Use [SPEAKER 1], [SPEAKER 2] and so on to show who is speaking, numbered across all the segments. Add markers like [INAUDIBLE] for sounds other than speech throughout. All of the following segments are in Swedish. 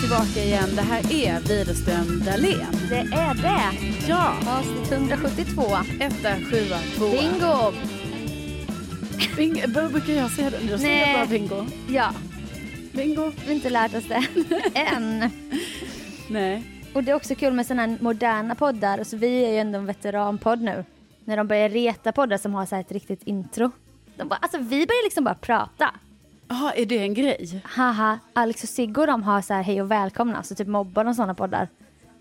[SPEAKER 1] tillbaka igen. Det här är Widerström Dahlén.
[SPEAKER 2] Det är det.
[SPEAKER 1] Ja,
[SPEAKER 2] Avsnitt 172.
[SPEAKER 1] etta, sjua, tvåa.
[SPEAKER 2] Bingo!
[SPEAKER 1] Bingo. Vad brukar jag säga då? Du säger
[SPEAKER 2] Nej.
[SPEAKER 1] bara bingo.
[SPEAKER 2] Ja,
[SPEAKER 1] Bingo.
[SPEAKER 2] vi har inte lärt oss det [LAUGHS] än.
[SPEAKER 1] Nej.
[SPEAKER 2] Och det är också kul med sådana här moderna poddar. Så vi är ju ändå en veteranpodd nu. När de börjar reta poddar som har så här ett riktigt intro. De bara, alltså vi börjar liksom bara prata.
[SPEAKER 1] Jaha, är det en grej?
[SPEAKER 2] Haha, Alex och Sigge och de har så här hej och välkomna. Så typ mobbar de sådana poddar.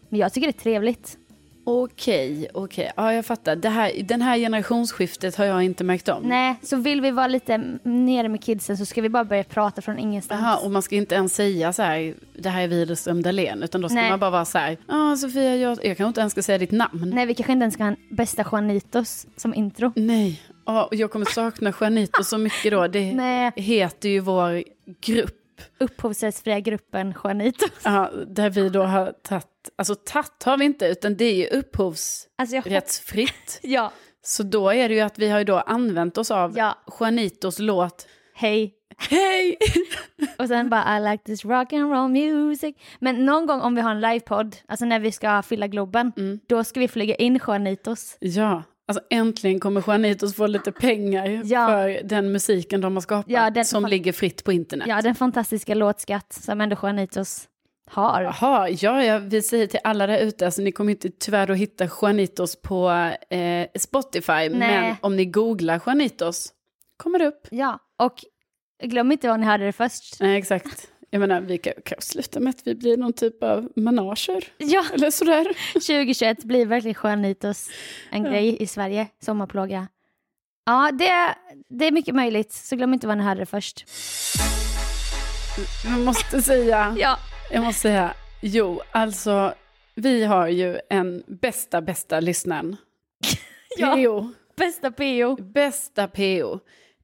[SPEAKER 2] Men jag tycker det är trevligt.
[SPEAKER 1] Okej, okej. Ja, jag fattar. Det här, den här generationsskiftet har jag inte märkt om.
[SPEAKER 2] Nej, så vill vi vara lite m- nere med kidsen så ska vi bara börja prata från ingenstans.
[SPEAKER 1] Jaha, och man ska inte ens säga så här, det här är Widerström Dahlén, utan då ska
[SPEAKER 2] Nej.
[SPEAKER 1] man bara vara så här, ja Sofia, jag, jag kanske inte ens ska säga ditt namn.
[SPEAKER 2] Nej, vi kanske inte ens ska ha en bästa Juanitos som intro.
[SPEAKER 1] Nej, ja, och jag kommer sakna Juanito så mycket då. Det
[SPEAKER 2] Nej.
[SPEAKER 1] heter ju vår grupp.
[SPEAKER 2] Upphovsrättsfria gruppen Juanitos.
[SPEAKER 1] Ja, där vi då har tagit, alltså tagit har vi inte, utan det är ju upphovsrättsfritt.
[SPEAKER 2] [LAUGHS] Alltså jag hop- Ja,
[SPEAKER 1] Så då är det ju att vi har ju då använt oss av
[SPEAKER 2] Ja.
[SPEAKER 1] Juanitos låt
[SPEAKER 2] hej.
[SPEAKER 1] Hej!
[SPEAKER 2] Och sen bara I like this rock and roll music. Men någon gång om vi har en livepodd, alltså när vi ska fylla Globen, då ska vi flyga in Juanitos.
[SPEAKER 1] Ja, alltså äntligen kommer Juanitos få lite pengar
[SPEAKER 2] Ja.
[SPEAKER 1] för den musiken de har skapat
[SPEAKER 2] Ja, den-
[SPEAKER 1] som ligger fritt på internet.
[SPEAKER 2] Ja, den fantastiska låtskatt som ändå Juanitos har.
[SPEAKER 1] Jaha, ja, ja, vi säger till alla där ute, alltså, ni kommer inte tyvärr att hitta Juanitos på eh, Spotify, men om ni googlar Juanitos kommer det upp.
[SPEAKER 2] Ja, och glöm inte var ni hörde det först.
[SPEAKER 1] Nej, exakt. Jag menar, vi kan, kan sluta med att vi blir någon typ av manager,
[SPEAKER 2] [LAUGHS] Ja,
[SPEAKER 1] eller sådär.
[SPEAKER 2] 2021 blir verkligen Juanitos en grej i Sverige, sommarplåga. Ja, det, det är mycket möjligt, så glöm inte var ni hörde det först.
[SPEAKER 1] Jag måste säga,
[SPEAKER 2] Ja,
[SPEAKER 1] jag måste säga, jo, alltså, vi har ju en bästa, bästa lyssnaren.
[SPEAKER 2] [LAUGHS] Ja.
[SPEAKER 1] PO,
[SPEAKER 2] bästa PO.
[SPEAKER 1] bästa PO.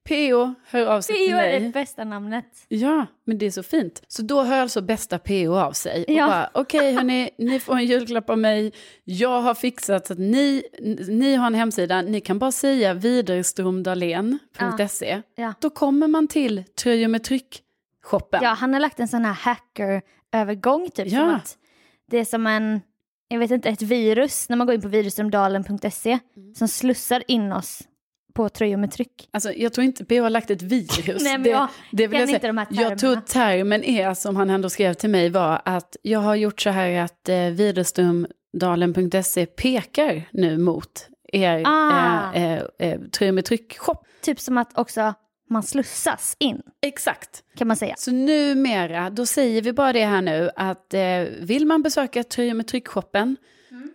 [SPEAKER 1] PO hör av sig till
[SPEAKER 2] PO är
[SPEAKER 1] mig.
[SPEAKER 2] det bästa namnet.
[SPEAKER 1] Ja, men det är så fint. Så då hör alltså bästa PO av sig och
[SPEAKER 2] Ja.
[SPEAKER 1] bara, okej hörni, ni får en julklapp av mig, jag har fixat så att ni, ni har en hemsida, ni kan bara säga widerstromdahlén.se,
[SPEAKER 2] Ja.
[SPEAKER 1] då kommer man till tröjor med tryck-shoppen.
[SPEAKER 2] Ja, han har lagt en sån här hacker-övergång typ. Som
[SPEAKER 1] Ja.
[SPEAKER 2] att det är som en, jag vet inte, ett virus när man går in på virusströmdalen.se
[SPEAKER 1] Mm.
[SPEAKER 2] som slussar in oss på tröjor med tryck.
[SPEAKER 1] Alltså, jag tror inte PO har lagt ett virus.
[SPEAKER 2] Nej, men
[SPEAKER 1] det,
[SPEAKER 2] jag
[SPEAKER 1] det vill
[SPEAKER 2] kan
[SPEAKER 1] jag, säga.
[SPEAKER 2] inte de här
[SPEAKER 1] jag tror
[SPEAKER 2] termerna.
[SPEAKER 1] termen är, som han ändå skrev till mig, var att jag har gjort så här att eh, widerstromdalen.se E pekar nu mot er
[SPEAKER 2] Ah.
[SPEAKER 1] eh, eh, eh, tröjor med tryck-shop.
[SPEAKER 2] Typ som att också man slussas in,
[SPEAKER 1] Exakt.
[SPEAKER 2] kan man säga.
[SPEAKER 1] Så numera, då säger vi bara det här nu, att eh, vill man besöka Tröjor med tryckshoppen,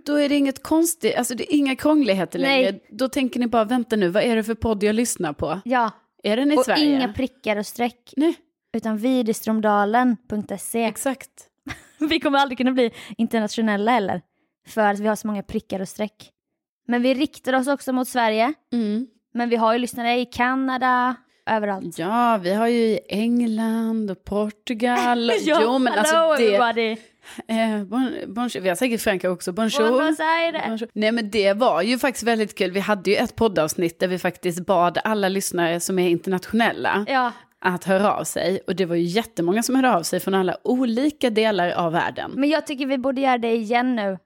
[SPEAKER 1] då är det inget konstigt, alltså det är inga krångligheter
[SPEAKER 2] Mm. Nej.
[SPEAKER 1] längre. Då tänker ni bara, vänta nu, vad är det för podd jag lyssnar på?
[SPEAKER 2] Ja,
[SPEAKER 1] Är den i
[SPEAKER 2] och
[SPEAKER 1] Sverige?
[SPEAKER 2] inga prickar och streck.
[SPEAKER 1] Nej,
[SPEAKER 2] Utan virusströmdalen.se.
[SPEAKER 1] exakt.
[SPEAKER 2] Vi kommer aldrig kunna bli internationella heller. För att vi har så många prickar och streck. Men vi riktar oss också mot Sverige.
[SPEAKER 1] Mm.
[SPEAKER 2] Men vi har ju lyssnare i Kanada, överallt.
[SPEAKER 1] Ja, vi har ju i England och
[SPEAKER 2] [LAUGHS]
[SPEAKER 1] Portugal. jo, men
[SPEAKER 2] hello
[SPEAKER 1] alltså det...
[SPEAKER 2] everybody!
[SPEAKER 1] Eh, bon, bonjour. Vi har säkert Frankrike också. Bonjour.
[SPEAKER 2] Buenos Aires!
[SPEAKER 1] Bonjour. Nej men det var ju faktiskt väldigt kul. Vi hade ju ett poddavsnitt där vi faktiskt bad alla lyssnare som är internationella
[SPEAKER 2] Ja,
[SPEAKER 1] att höra av sig. Och det var ju jättemånga som hörde av sig från alla olika delar av världen.
[SPEAKER 2] men jag tycker vi borde göra det igen nu.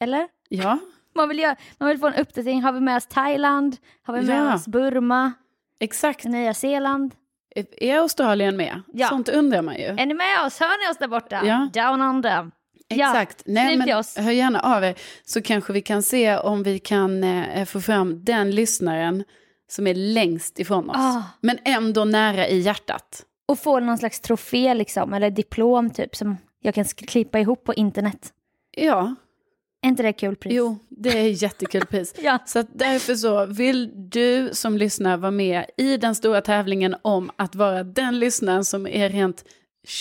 [SPEAKER 2] Eller?
[SPEAKER 1] Ja,
[SPEAKER 2] Man vill, göra, man vill få en uppdatering. Har vi med oss Thailand? Har vi med
[SPEAKER 1] Ja.
[SPEAKER 2] oss Burma?
[SPEAKER 1] exakt.
[SPEAKER 2] Nya Zeeland?
[SPEAKER 1] Är Australien med?
[SPEAKER 2] Ja.
[SPEAKER 1] Sånt undrar man ju.
[SPEAKER 2] Är ni med oss? Hör ni oss där borta?
[SPEAKER 1] Ja.
[SPEAKER 2] Down under.
[SPEAKER 1] Exakt. Nej,
[SPEAKER 2] skriv till
[SPEAKER 1] men
[SPEAKER 2] oss.
[SPEAKER 1] hör gärna av er så kanske vi kan se om vi kan eh, få fram den lyssnaren som är längst ifrån oss.
[SPEAKER 2] Ah.
[SPEAKER 1] Men ändå nära i hjärtat.
[SPEAKER 2] Och få någon slags trofé liksom, eller diplom typ som jag kan sk- klippa ihop på internet.
[SPEAKER 1] Ja,
[SPEAKER 2] Är inte det kul pris?
[SPEAKER 1] jo, det är jättekul pris.
[SPEAKER 2] Ja.
[SPEAKER 1] Så att därför så vill du som lyssnar vara med i den stora tävlingen om att vara den lyssnaren som är rent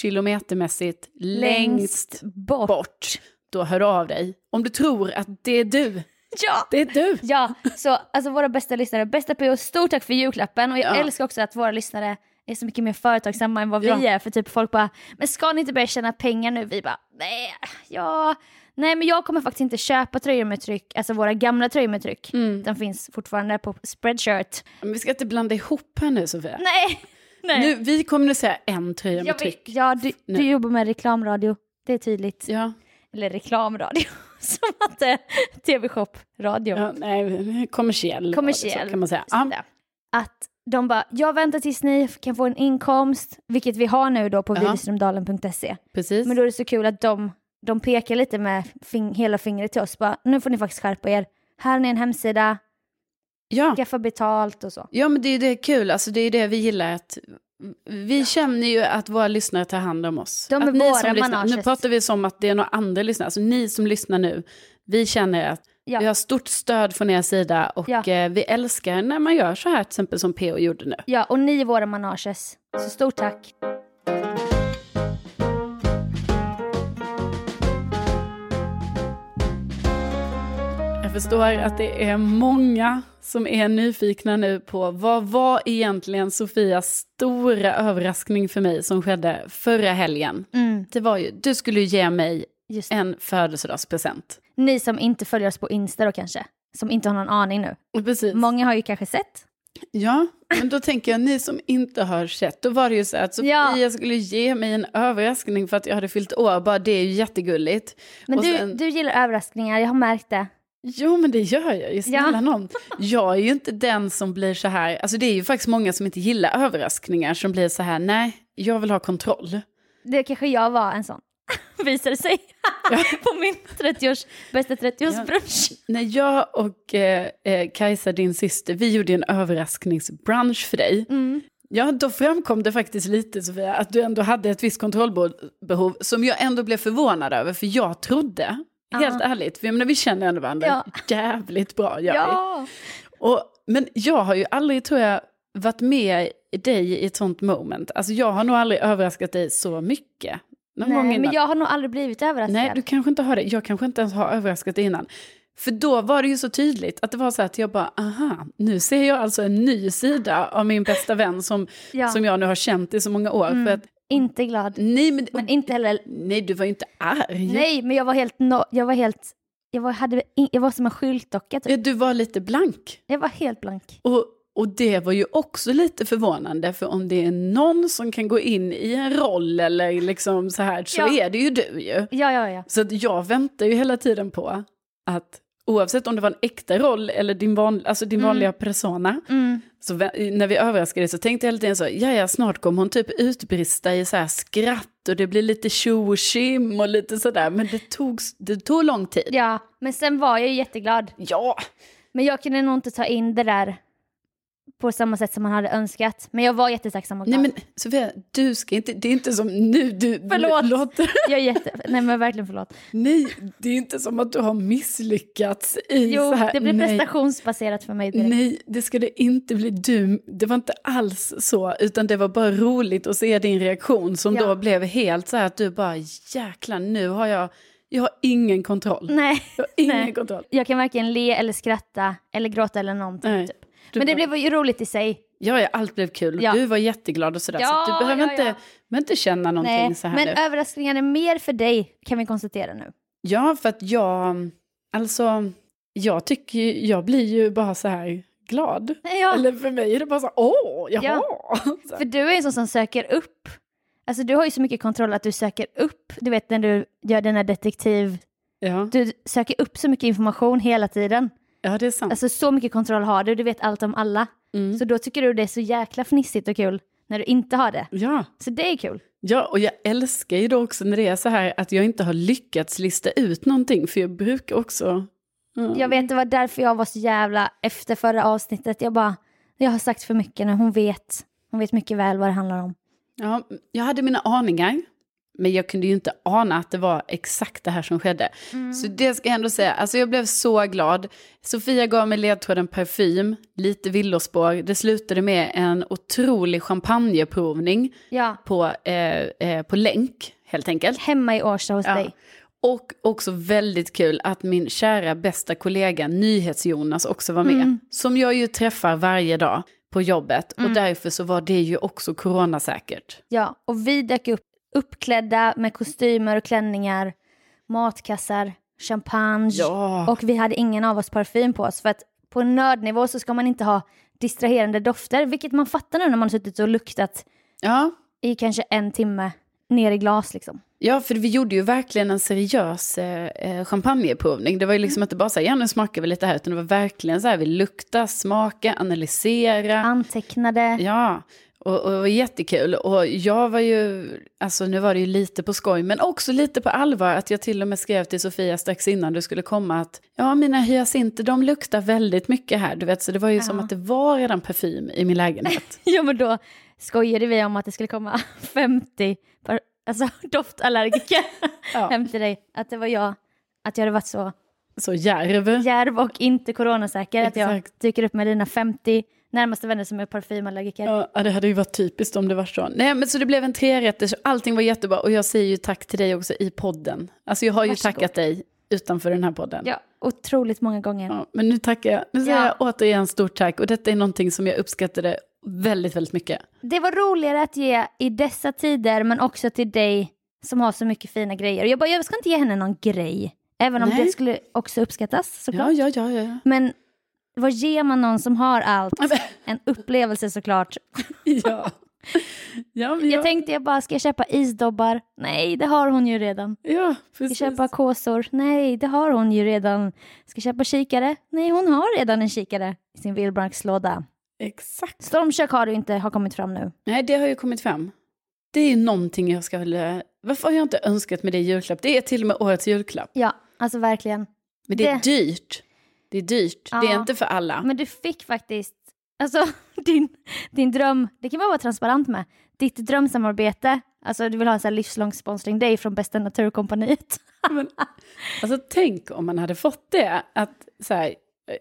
[SPEAKER 1] kilometermässigt längst,
[SPEAKER 2] bort.
[SPEAKER 1] bort. Då hör du av dig. Om du tror att det är du,
[SPEAKER 2] Ja!
[SPEAKER 1] det är du.
[SPEAKER 2] Ja, så alltså våra bästa lyssnare, bästa PO, stort tack för julklappen. Och jag
[SPEAKER 1] Ja.
[SPEAKER 2] älskar också att våra lyssnare är så mycket mer företagsamma än vad vi
[SPEAKER 1] Ja.
[SPEAKER 2] är. För typ folk bara, men ska ni inte börja tjäna pengar nu? Vi bara, nej, ja, nej men jag kommer faktiskt inte köpa tröjor med tryck, alltså våra gamla tröjor med tryck.
[SPEAKER 1] Mm.
[SPEAKER 2] De finns fortfarande på Spreadshirt.
[SPEAKER 1] Men vi ska inte blanda ihop här nu Sofia.
[SPEAKER 2] Nej! [LAUGHS] nej.
[SPEAKER 1] Nu, vi kommer nu säga en tröja
[SPEAKER 2] jag
[SPEAKER 1] med
[SPEAKER 2] vill,
[SPEAKER 1] tryck.
[SPEAKER 2] ja, du,
[SPEAKER 1] Nu.
[SPEAKER 2] du jobbar med reklamradio. Det är tydligt.
[SPEAKER 1] Ja,
[SPEAKER 2] Eller reklamradio, [LAUGHS] som att det är TV-shop-radio.
[SPEAKER 1] ja nej, kommersiell.
[SPEAKER 2] Kommersiell.
[SPEAKER 1] Så kan man säga.
[SPEAKER 2] Så
[SPEAKER 1] Ja.
[SPEAKER 2] där. Att de bara, jag väntar tills ni kan få en inkomst, vilket vi har nu då på
[SPEAKER 1] Ja.
[SPEAKER 2] widerströmdalen.se.
[SPEAKER 1] Precis.
[SPEAKER 2] Men då är det så kul att de, de pekar lite med fing, hela fingret till oss. Bara, nu får ni faktiskt skärpa er. Här är en hemsida,
[SPEAKER 1] ja.
[SPEAKER 2] skaffa betalt och så.
[SPEAKER 1] ja, men det är ju det kul. Alltså, det är ju det vi gillar. Att vi känner ju att våra lyssnare tar hand om oss.
[SPEAKER 2] De är
[SPEAKER 1] att ni
[SPEAKER 2] våra
[SPEAKER 1] som lyssnar, nu
[SPEAKER 2] manages.
[SPEAKER 1] pratar vi som att det är några andra lyssnare. Alltså ni som lyssnar nu, vi känner att
[SPEAKER 2] Ja.
[SPEAKER 1] vi har stort stöd från er sida och
[SPEAKER 2] Ja.
[SPEAKER 1] eh, vi älskar när man gör så här, till exempel som PO gjorde nu.
[SPEAKER 2] Ja, och ni är våra manages. Så stort tack.
[SPEAKER 1] Jag förstår att det är många som är nyfikna nu på vad var egentligen Sofias stora överraskning för mig som skedde förra helgen.
[SPEAKER 2] Mm,
[SPEAKER 1] Det var ju, du skulle ju ge mig
[SPEAKER 2] just.
[SPEAKER 1] en födelsedagspresent.
[SPEAKER 2] Ni som inte följer oss på Insta då kanske, som inte har någon aning nu.
[SPEAKER 1] Precis.
[SPEAKER 2] Många har ju kanske sett.
[SPEAKER 1] Ja, men då tänker jag ni som inte har sett, då var det ju så att Sofia
[SPEAKER 2] Ja.
[SPEAKER 1] skulle ge mig en överraskning för att jag hade fyllt år, bara det är ju jättegulligt.
[SPEAKER 2] Men
[SPEAKER 1] Och
[SPEAKER 2] du,
[SPEAKER 1] sen-
[SPEAKER 2] du gillar överraskningar, jag har märkt det.
[SPEAKER 1] Jo, men det gör jag ju. Snälla
[SPEAKER 2] Ja.
[SPEAKER 1] nån. Jag är ju inte den som blir så här... Alltså det är ju faktiskt många som inte gillar överraskningar som blir så här, nej, jag vill ha kontroll.
[SPEAKER 2] Det kanske jag var en sån, [LAUGHS] visar det sig. [LAUGHS] på min 30-års, bästa 30-årsbrunch.
[SPEAKER 1] När jag och eh, eh, Kajsa, din syster, vi gjorde en överraskningsbrunch för dig.
[SPEAKER 2] Mm.
[SPEAKER 1] Ja, då framkom det faktiskt lite, Sofia, att du ändå hade ett visst kontrollbehov som jag ändå blev förvånad över, för jag trodde, helt ärligt, vi, men vi känner ändå varandra
[SPEAKER 2] Ja.
[SPEAKER 1] jävligt bra. Gör vi.
[SPEAKER 2] Ja.
[SPEAKER 1] Och, men jag har ju aldrig, tror jag, varit med dig i ett sånt moment. Alltså jag har nog aldrig överraskat dig så mycket. Någon gång
[SPEAKER 2] Nej,
[SPEAKER 1] innan.
[SPEAKER 2] men jag har nog aldrig blivit överraskad.
[SPEAKER 1] Nej, du kanske inte har det. Jag kanske inte ens har överraskat dig innan. För då var det ju så tydligt att det var så att jag bara, aha, nu ser jag alltså en ny sida av min bästa vän som,
[SPEAKER 2] ja. Mm.
[SPEAKER 1] som jag nu har känt i så många år. För att,
[SPEAKER 2] Inte glad,
[SPEAKER 1] nej, men,
[SPEAKER 2] men inte heller...
[SPEAKER 1] nej, du var ju inte arg.
[SPEAKER 2] Nej, men jag var helt... No, jag var helt... Jag var, hade, in- jag var som en skyltdocka, typ.
[SPEAKER 1] Ja, Du var lite blank.
[SPEAKER 2] Jag var helt blank.
[SPEAKER 1] Och, och det var ju också lite förvånande, för om det är någon som kan gå in i en roll eller liksom så här, så
[SPEAKER 2] Ja.
[SPEAKER 1] är det ju du ju.
[SPEAKER 2] Ja, ja, ja.
[SPEAKER 1] Så att jag väntar ju hela tiden på att oavsett om det var en äkta roll eller din, van, alltså din vanliga persona,
[SPEAKER 2] Mm.
[SPEAKER 1] så vä- när vi överraskade så tänkte jag hela tiden så, ja ja, snart kommer hon typ utbrista i så här skratt och det blir lite tjo och tjim och lite sådär, men det tog, det tog lång tid.
[SPEAKER 2] Ja, men sen var jag ju jätteglad.
[SPEAKER 1] Ja,
[SPEAKER 2] Men jag kunde nog inte ta in det där på samma sätt som man hade önskat. Men jag var jättetacksam och
[SPEAKER 1] nej
[SPEAKER 2] glad.
[SPEAKER 1] men Sofia, du ska inte, det är inte som nu, du
[SPEAKER 2] Förlåt.
[SPEAKER 1] låter...
[SPEAKER 2] Jag är jätte... Nej, men verkligen förlåt.
[SPEAKER 1] Nej, det är inte som att du har misslyckats i
[SPEAKER 2] Jo,
[SPEAKER 1] så här.
[SPEAKER 2] det blir
[SPEAKER 1] nej,
[SPEAKER 2] prestationsbaserat för mig direkt.
[SPEAKER 1] nej, det ska det inte bli. Du, det var inte alls så, utan det var bara roligt att se din reaktion som
[SPEAKER 2] Ja.
[SPEAKER 1] då blev helt så här att du bara jäklar, nu har jag, jag har ingen kontroll.
[SPEAKER 2] Nej.
[SPEAKER 1] Jag har ingen
[SPEAKER 2] Mm. Nej.
[SPEAKER 1] kontroll.
[SPEAKER 2] Jag kan varken le eller skratta eller gråta eller någonting.
[SPEAKER 1] Nej.
[SPEAKER 2] Typ.
[SPEAKER 1] Du
[SPEAKER 2] Men det
[SPEAKER 1] bara,
[SPEAKER 2] blev ju roligt i sig.
[SPEAKER 1] ja, ja, allt blev kul och
[SPEAKER 2] Ja.
[SPEAKER 1] du var jätteglad och sådär. så
[SPEAKER 2] Ja,
[SPEAKER 1] att du behöver
[SPEAKER 2] ja,
[SPEAKER 1] inte,
[SPEAKER 2] ja.
[SPEAKER 1] behöver inte känna någonting
[SPEAKER 2] Nej,
[SPEAKER 1] så här
[SPEAKER 2] men
[SPEAKER 1] nu.
[SPEAKER 2] överraskningar är mer för dig kan vi konstatera nu.
[SPEAKER 1] Ja, för att jag, alltså, jag tycker ju, jag blir ju bara så här glad. [LAUGHS]
[SPEAKER 2] Ja,
[SPEAKER 1] Eller för mig är det bara så här, åh, jaha. Så här.
[SPEAKER 2] för du är en sån som söker upp. Alltså du har ju så mycket kontroll att du söker upp. Du vet när du gör den här detektiv...
[SPEAKER 1] Ja.
[SPEAKER 2] Du söker upp så mycket information hela tiden.
[SPEAKER 1] ja, det är sant.
[SPEAKER 2] Alltså så mycket kontroll har du, du vet allt om alla.
[SPEAKER 1] Mm.
[SPEAKER 2] Så då tycker du det är så jäkla fnissigt och kul när du inte har det.
[SPEAKER 1] Ja.
[SPEAKER 2] Så det är kul.
[SPEAKER 1] ja, och jag älskar ju då också när det är så här att jag inte har lyckats lista ut någonting, för jag brukar också... Mm.
[SPEAKER 2] Jag vet, det var därför jag var så jävla efter förra avsnittet. Jag bara, jag har sagt för mycket nu, hon vet. Hon vet mycket väl vad det handlar om.
[SPEAKER 1] Ja, jag hade mina aningar, men jag kunde ju inte ana att det var exakt det här som skedde. Så det ska jag ändå säga, alltså jag blev så glad. Sofia gav mig ledtråden parfym, lite villospår. Det slutade med en otrolig champagneprovning
[SPEAKER 2] Ja,
[SPEAKER 1] på, eh, eh, på länk, helt enkelt.
[SPEAKER 2] hemma i Årsta hos
[SPEAKER 1] Ja.
[SPEAKER 2] dig.
[SPEAKER 1] Och också väldigt kul att min kära bästa kollega NyhetsJonas också var med. Som jag ju träffar varje dag på jobbet. Och därför så var det ju också coronasäkert.
[SPEAKER 2] Ja, och vi dök upp uppklädda med kostymer och klänningar, matkassar, champagne.
[SPEAKER 1] Ja.
[SPEAKER 2] Och vi hade ingen av oss parfym på oss för att på nördnivå så ska man inte ha distraherande dofter, vilket man fattar nu när man har suttit och luktat
[SPEAKER 1] Ja,
[SPEAKER 2] i kanske en timme ner i glas liksom.
[SPEAKER 1] Ja, för vi gjorde ju verkligen en seriös eh, eh, champagneprovning. Det var ju liksom inte bara så här, ja nu smakar vi lite här, utan det var verkligen så här, vi luktar, smakar, analysera.
[SPEAKER 2] Antecknade.
[SPEAKER 1] Ja, och, och det var jättekul. Och jag var ju, alltså nu var det ju lite på skoj, men också lite på allvar. Att jag till och med skrev till Sofia strax innan du skulle komma att ja, mina hyacinter de luktar väldigt mycket här. Du vet, så det var ju som att det var redan parfym i min lägenhet.
[SPEAKER 2] [LAUGHS] Ja men då skojade vi om att det skulle komma [LAUGHS] 50 par, alltså, [LAUGHS] doftallergiker
[SPEAKER 1] Ja.
[SPEAKER 2] [LAUGHS] hem till dig. Att det var jag, att jag hade varit så
[SPEAKER 1] Så djärv.
[SPEAKER 2] djärv och inte coronasäker. Att jag
[SPEAKER 1] Exakt.
[SPEAKER 2] dyker upp med dina 50 närmaste vänner som är parfymallergiker.
[SPEAKER 1] Ja, ja, det hade ju varit typiskt om det var så. Nej, men så det blev en trerätters, allting var jättebra. Och jag säger ju tack till dig också i podden. Alltså jag har ju
[SPEAKER 2] Varsågod.
[SPEAKER 1] tackat dig utanför den här podden.
[SPEAKER 2] Ja, otroligt många gånger.
[SPEAKER 1] Ja, men nu tackar jag. Nu säger
[SPEAKER 2] Ja.
[SPEAKER 1] jag återigen stort tack. Och detta är någonting som jag uppskattade väldigt, väldigt mycket.
[SPEAKER 2] Det var roligare att ge i dessa tider men också till dig som har så mycket fina grejer. Jag bara, jag ska inte ge henne någon grej. Även om
[SPEAKER 1] Nej.
[SPEAKER 2] det skulle också uppskattas såklart.
[SPEAKER 1] Ja, ja, ja,
[SPEAKER 2] [LAUGHS]
[SPEAKER 1] ja.
[SPEAKER 2] Men vad ger man någon som
[SPEAKER 1] [LAUGHS]
[SPEAKER 2] har allt? En upplevelse såklart.
[SPEAKER 1] ja. ja, men
[SPEAKER 2] Jag
[SPEAKER 1] jag,
[SPEAKER 2] tänkte jag bara, ska jag köpa isdobbar? Nej, det har hon ju redan.
[SPEAKER 1] ja,
[SPEAKER 2] Ska jag
[SPEAKER 1] precis.
[SPEAKER 2] köpa kåsor? Nej, det har hon ju redan. Ska jag köpa kikare? Nej, hon har redan en kikare i sin vildmarkslåda.
[SPEAKER 1] Exakt.
[SPEAKER 2] Stormkök har du inte, har kommit fram nu.
[SPEAKER 1] Nej, det har ju kommit fram. Det är ju någonting jag ska... väl- Varför har jag inte önskat mig det i julklapp? Det är till och med årets julklapp.
[SPEAKER 2] Ja, alltså verkligen.
[SPEAKER 1] Men det är
[SPEAKER 2] Det-
[SPEAKER 1] dyrt. Det är dyrt. Det är
[SPEAKER 2] Ja.
[SPEAKER 1] inte för alla.
[SPEAKER 2] Men du fick faktiskt, alltså [LAUGHS] din, din dröm, det kan man vara transparent med, ditt drömsamarbete, alltså du vill ha en sån här livslång sponsring, det är från Bästa Naturkompaniet.
[SPEAKER 1] Alltså tänk om man hade fått det. Att, så här,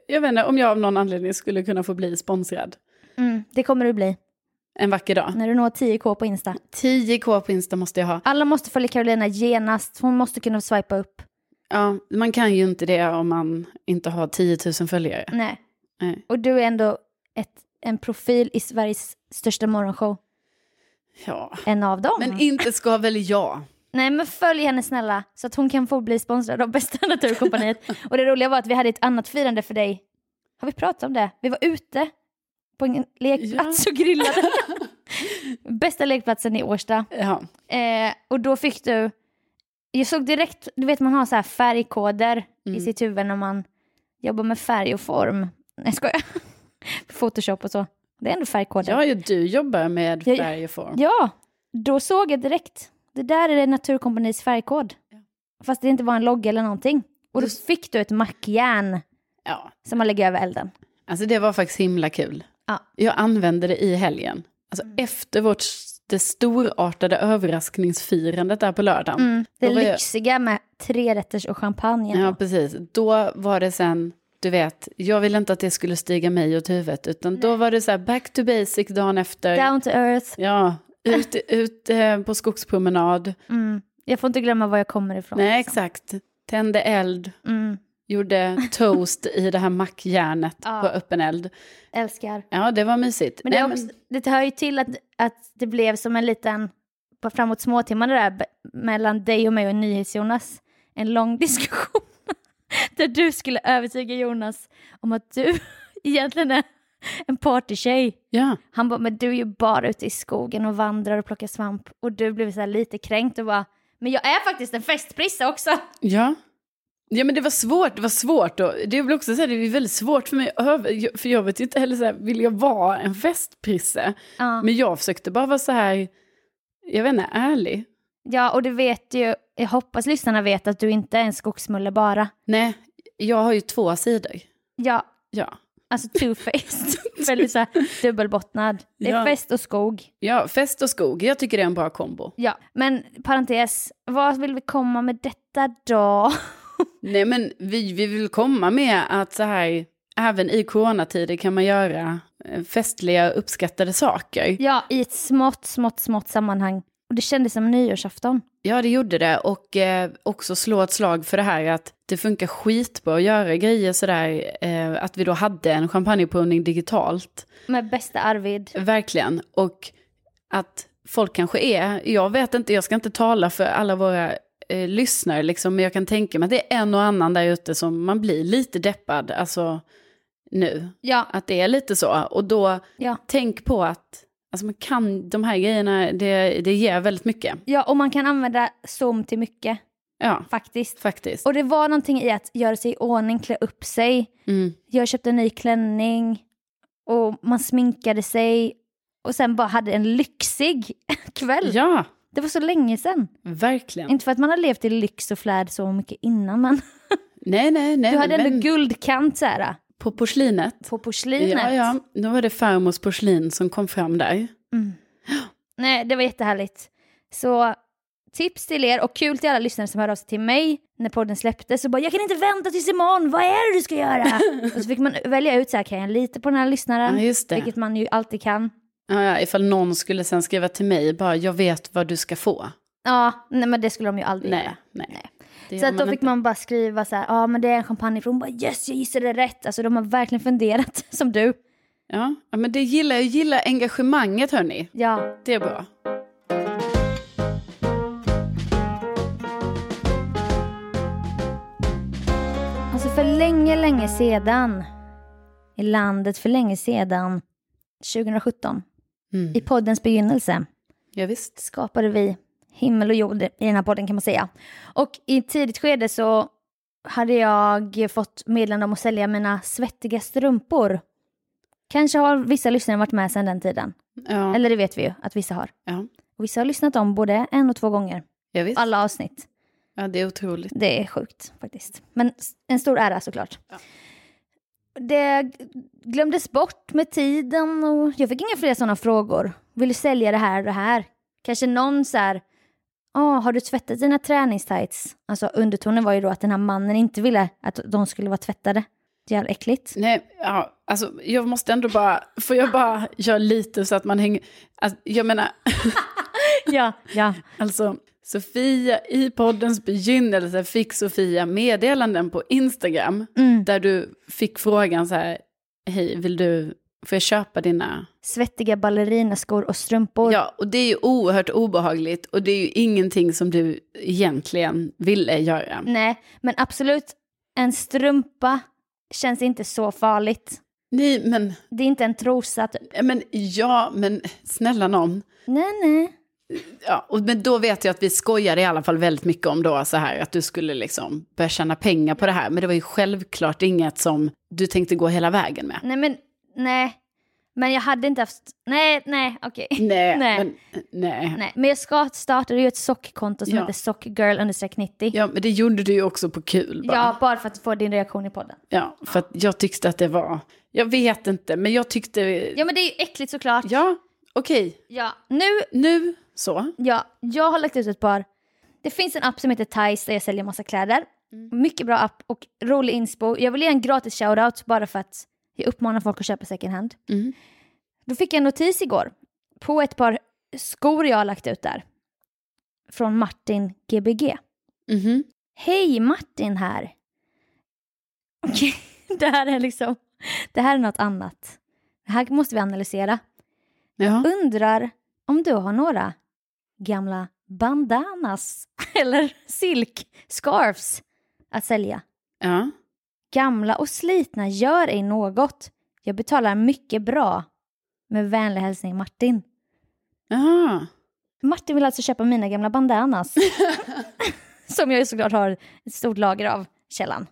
[SPEAKER 1] jag vet inte, om jag av någon anledning skulle kunna få bli sponsrad
[SPEAKER 2] Mm, [LAUGHS] det kommer du bli
[SPEAKER 1] en vacker dag.
[SPEAKER 2] när du når 10k på Insta.
[SPEAKER 1] 10k på Insta måste jag ha.
[SPEAKER 2] Alla måste följa Carolina genast, hon måste kunna swipa upp.
[SPEAKER 1] Ja, man kan ju inte det om man inte har 10 000 följare.
[SPEAKER 2] Nej.
[SPEAKER 1] Nej.
[SPEAKER 2] Och du är ändå ett, en profil i Sveriges största morgonshow,
[SPEAKER 1] Ja.
[SPEAKER 2] en av dem.
[SPEAKER 1] Men inte ska väl jag.
[SPEAKER 2] Nej men följ henne snälla så att hon kan få bli sponsrad av bästa [LAUGHS] naturkompaniet. och det roliga var att vi hade ett annat firande för dig. Har vi pratat om det? Vi var ute på en lekplats
[SPEAKER 1] [LAUGHS]
[SPEAKER 2] och grillade. bästa lekplatsen i Årsta.
[SPEAKER 1] Ja.
[SPEAKER 2] Eh, och då fick du, jag såg direkt, du vet man har så här färgkoder i
[SPEAKER 1] Mm.
[SPEAKER 2] sitt huvud när man jobbar med färg och form. Nej skojar. [LAUGHS] Photoshop och så. Det är ändå färgkoder.
[SPEAKER 1] Ja, ju du jobbar med
[SPEAKER 2] Jag-
[SPEAKER 1] färg och form.
[SPEAKER 2] Ja, då såg jag direkt. Det där är det Naturkompaniets färgkod. Fast det inte var en logga eller någonting. Och då
[SPEAKER 1] Du-
[SPEAKER 2] fick du ett mackjärn
[SPEAKER 1] Ja.
[SPEAKER 2] som man lägger över elden.
[SPEAKER 1] Alltså det var faktiskt himla kul.
[SPEAKER 2] Ja. Mm.
[SPEAKER 1] Jag använde det i helgen. Alltså efter vårt, det storartade överraskningsfirandet där på lördagen.
[SPEAKER 2] Det
[SPEAKER 1] Då var jag-
[SPEAKER 2] lyxiga med tre rätters och champagne.
[SPEAKER 1] Ja, precis. Då var det sen, du vet, jag ville inte att det skulle stiga mig åt huvudet, utan då var det så här back to basic dagen efter.
[SPEAKER 2] Down to earth.
[SPEAKER 1] Ja, ut, ut eh, på skogspromenad.
[SPEAKER 2] Mm. Jag får inte glömma var jag kommer ifrån.
[SPEAKER 1] Nej,
[SPEAKER 2] liksom.
[SPEAKER 1] exakt. Tände eld,
[SPEAKER 2] Mm. [LAUGHS]
[SPEAKER 1] gjorde toast i det här mackjärnet
[SPEAKER 2] Ja.
[SPEAKER 1] på öppen eld.
[SPEAKER 2] Älskar.
[SPEAKER 1] Ja, det var mysigt.
[SPEAKER 2] Men det, är
[SPEAKER 1] Nej,
[SPEAKER 2] också, det hör ju till att, att det blev som en liten, på framåt småtimmarna där, be- mellan dig och mig och NyhetsJonas, en lång [LAUGHS] diskussion där du skulle övertyga Jonas om att du [LAUGHS] egentligen är en partytjej.
[SPEAKER 1] ja.
[SPEAKER 2] Han bara, men du är ju bara ute i skogen och vandrar och plockar svamp. Och du blev så här lite kränkt och bara, men jag är faktiskt en festprissa också.
[SPEAKER 1] Ja. Ja men det var svårt, det var svårt. Och det blev också så här, det är väldigt svårt för mig att över, jag- för jag vet ju inte heller så här, vill jag vara en festprisse?
[SPEAKER 2] Ja.
[SPEAKER 1] Men jag försökte bara vara så här, jag vet inte, ärlig.
[SPEAKER 2] ja, och du vet ju, jag hoppas lyssnarna vet att du inte är en skogsmulle bara.
[SPEAKER 1] Nej, jag har ju två sidor.
[SPEAKER 2] Ja,
[SPEAKER 1] Ja,
[SPEAKER 2] Alltså [LAUGHS] two-faced. Väldigt så här dubbelbottnad. Det är
[SPEAKER 1] Ja.
[SPEAKER 2] fest och skog.
[SPEAKER 1] ja fest och skog, jag tycker det är en bra kombo.
[SPEAKER 2] Ja. Men parentes, vad vill vi komma med detta då? [LAUGHS]
[SPEAKER 1] Nej men vi, vi vill komma med att så här, även i coronatider kan man göra eh, festliga och uppskattade saker.
[SPEAKER 2] Ja, i ett smått, smått, smått sammanhang. Och det kändes som nyårsafton.
[SPEAKER 1] Ja, det gjorde det. Och eh, också slå ett slag för det här att det funkar skitbra att göra grejer sådär. Eh, att vi då hade en champagneprovning digitalt.
[SPEAKER 2] Med bästa Arvid.
[SPEAKER 1] Verkligen. Och att folk kanske är, jag vet inte, jag ska inte tala för alla våra eh, lyssnare, liksom, men jag kan tänka mig att det är en och annan där ute som man blir lite deppad, alltså nu.
[SPEAKER 2] Ja,
[SPEAKER 1] Att det är lite så. Och då,
[SPEAKER 2] ja.
[SPEAKER 1] tänk på att Alltså man kan, de här grejerna, det, det ger väldigt mycket.
[SPEAKER 2] Ja, och man kan använda Zoom till mycket
[SPEAKER 1] Ja,
[SPEAKER 2] faktiskt.
[SPEAKER 1] faktiskt.
[SPEAKER 2] Och det var någonting i att göra sig i ordning, klä upp sig.
[SPEAKER 1] Mm.
[SPEAKER 2] Jag köpte en ny klänning och man sminkade sig och sen bara hade en lyxig [LAUGHS] kväll.
[SPEAKER 1] Ja,
[SPEAKER 2] Det var så länge sedan.
[SPEAKER 1] verkligen.
[SPEAKER 2] Inte för att man har levt i lyx och flärd så mycket innan, men
[SPEAKER 1] Nej, nej, nej.
[SPEAKER 2] du hade
[SPEAKER 1] men
[SPEAKER 2] ändå guldkant så här,
[SPEAKER 1] På porslinet.
[SPEAKER 2] på
[SPEAKER 1] Ja,
[SPEAKER 2] porslinet.
[SPEAKER 1] ja. Då var det farmors porslin som kom fram där.
[SPEAKER 2] Mm. Nej, det var jättehärligt. Så tips till er och kul till alla lyssnare som hörde av sig till mig när podden släpptes och bara “jag kan inte vänta tills imorgon, vad är det du ska göra?”
[SPEAKER 1] [LAUGHS]
[SPEAKER 2] Och så fick man välja ut så här, kan jag lita på den här lyssnaren?
[SPEAKER 1] Ja, just det.
[SPEAKER 2] Vilket man ju alltid kan.
[SPEAKER 1] Ja, ja, ifall någon skulle sen skriva till mig, bara jag vet vad du ska få.
[SPEAKER 2] Ja, nej, men det skulle de ju aldrig
[SPEAKER 1] Nej,
[SPEAKER 2] göra.
[SPEAKER 1] nej.
[SPEAKER 2] Nej.
[SPEAKER 1] Det
[SPEAKER 2] Så
[SPEAKER 1] gör
[SPEAKER 2] att då
[SPEAKER 1] man
[SPEAKER 2] fick
[SPEAKER 1] inte.
[SPEAKER 2] man bara skriva så här, ja men det är en champagne för hon bara yes jag gissade rätt. Alltså de har verkligen funderat [LAUGHS] som du.
[SPEAKER 1] Ja, ja, men det gillar jag, gillar engagemanget hörni.
[SPEAKER 2] Ja,
[SPEAKER 1] Det är bra.
[SPEAKER 2] alltså för länge, länge sedan. I landet för länge sedan. 2017.
[SPEAKER 1] Mm.
[SPEAKER 2] I poddens begynnelse
[SPEAKER 1] Ja, visst.
[SPEAKER 2] skapade vi himmel och jord i den här podden kan man säga. Och i ett tidigt skede så hade jag fått meddelande om att sälja mina svettiga strumpor. Kanske har vissa lyssnare varit med sedan den tiden.
[SPEAKER 1] Ja,
[SPEAKER 2] Eller det vet vi ju att vissa har.
[SPEAKER 1] ja.
[SPEAKER 2] Och vissa har lyssnat om både en och två gånger.
[SPEAKER 1] ja visst.
[SPEAKER 2] Alla avsnitt.
[SPEAKER 1] Ja, det är otroligt.
[SPEAKER 2] Det är sjukt faktiskt. Men s- en stor ära såklart.
[SPEAKER 1] Ja.
[SPEAKER 2] Det g- glömdes bort med tiden och jag fick inga fler sådana frågor. Vill du sälja det här och det här? Kanske någon så här, "Ah, har du tvättat dina träningstights? Alltså undertonen var ju då att den här mannen inte ville att de skulle vara tvättade. Det är jävla äckligt.
[SPEAKER 1] [LAUGHS] Nej, ja, alltså, jag måste ändå bara, får jag bara göra lite så att man hänger, alltså, jag menar,
[SPEAKER 2] ja, ja.
[SPEAKER 1] Alltså, Sofia, i poddens begynnelse fick Sofia meddelanden på Instagram
[SPEAKER 2] Mm.
[SPEAKER 1] där du fick frågan så här, hej, vill du, får jag köpa dina?
[SPEAKER 2] Svettiga ballerinaskor och strumpor.
[SPEAKER 1] Ja, och det är ju oerhört obehagligt och det är ju ingenting som du egentligen ville göra.
[SPEAKER 2] Nej, men absolut, en strumpa känns inte så farligt.
[SPEAKER 1] Nej, men,
[SPEAKER 2] Det är inte en trosa typ.
[SPEAKER 1] men ja, men snälla någon.
[SPEAKER 2] Nej, nej.
[SPEAKER 1] Ja, och, men då vet jag att vi skojade i alla fall väldigt mycket om då så här att du skulle liksom börja tjäna pengar på det här. Men det var ju självklart inget som du tänkte gå hela vägen med.
[SPEAKER 2] Nej men, nej. Men jag hade inte haft, nej, nej, okej.
[SPEAKER 1] Nej,
[SPEAKER 2] Nej.
[SPEAKER 1] Men, nej.
[SPEAKER 2] Nej, men jag ska startade ju ett sockkonto som
[SPEAKER 1] Ja.
[SPEAKER 2] heter sockgirl90. Ja,
[SPEAKER 1] Ja, men det gjorde du ju också på kul bara.
[SPEAKER 2] ja,
[SPEAKER 1] Ja.
[SPEAKER 2] bara för att få din reaktion i podden.
[SPEAKER 1] för att jag tyckte att det var... Jag vet inte, men jag tyckte... Ja,
[SPEAKER 2] Ja men det är ju äckligt såklart.
[SPEAKER 1] okej.
[SPEAKER 2] Ja. Nu,
[SPEAKER 1] Nu så.
[SPEAKER 2] ja, jag har lagt ut ett par. Det finns en app som heter Thais där jag säljer massa kläder.
[SPEAKER 1] Mm.
[SPEAKER 2] Mycket bra app och rolig inspo. Jag vill ge en gratis shoutout bara för att jag uppmanar folk att köpa second hand.
[SPEAKER 1] Mm.
[SPEAKER 2] Då fick jag en notis igår på ett par skor jag har lagt ut där. Från Martin Gbg.
[SPEAKER 1] Mhm.
[SPEAKER 2] Hej Martin här. [LAUGHS] Okej, det här är liksom, det här är något annat. Det här måste vi analysera.
[SPEAKER 1] Ja.
[SPEAKER 2] Undrar om du har några gamla bandanas [LAUGHS] eller silk scarves att sälja?
[SPEAKER 1] ja.
[SPEAKER 2] Gamla och slitna gör ej något. Jag betalar mycket bra. Med vänlig hälsning Martin.
[SPEAKER 1] Jaha.
[SPEAKER 2] Martin vill alltså köpa mina
[SPEAKER 1] [LAUGHS]
[SPEAKER 2] gamla bandanas. [LAUGHS] Som jag ju såklart har ett stort lager av, källan.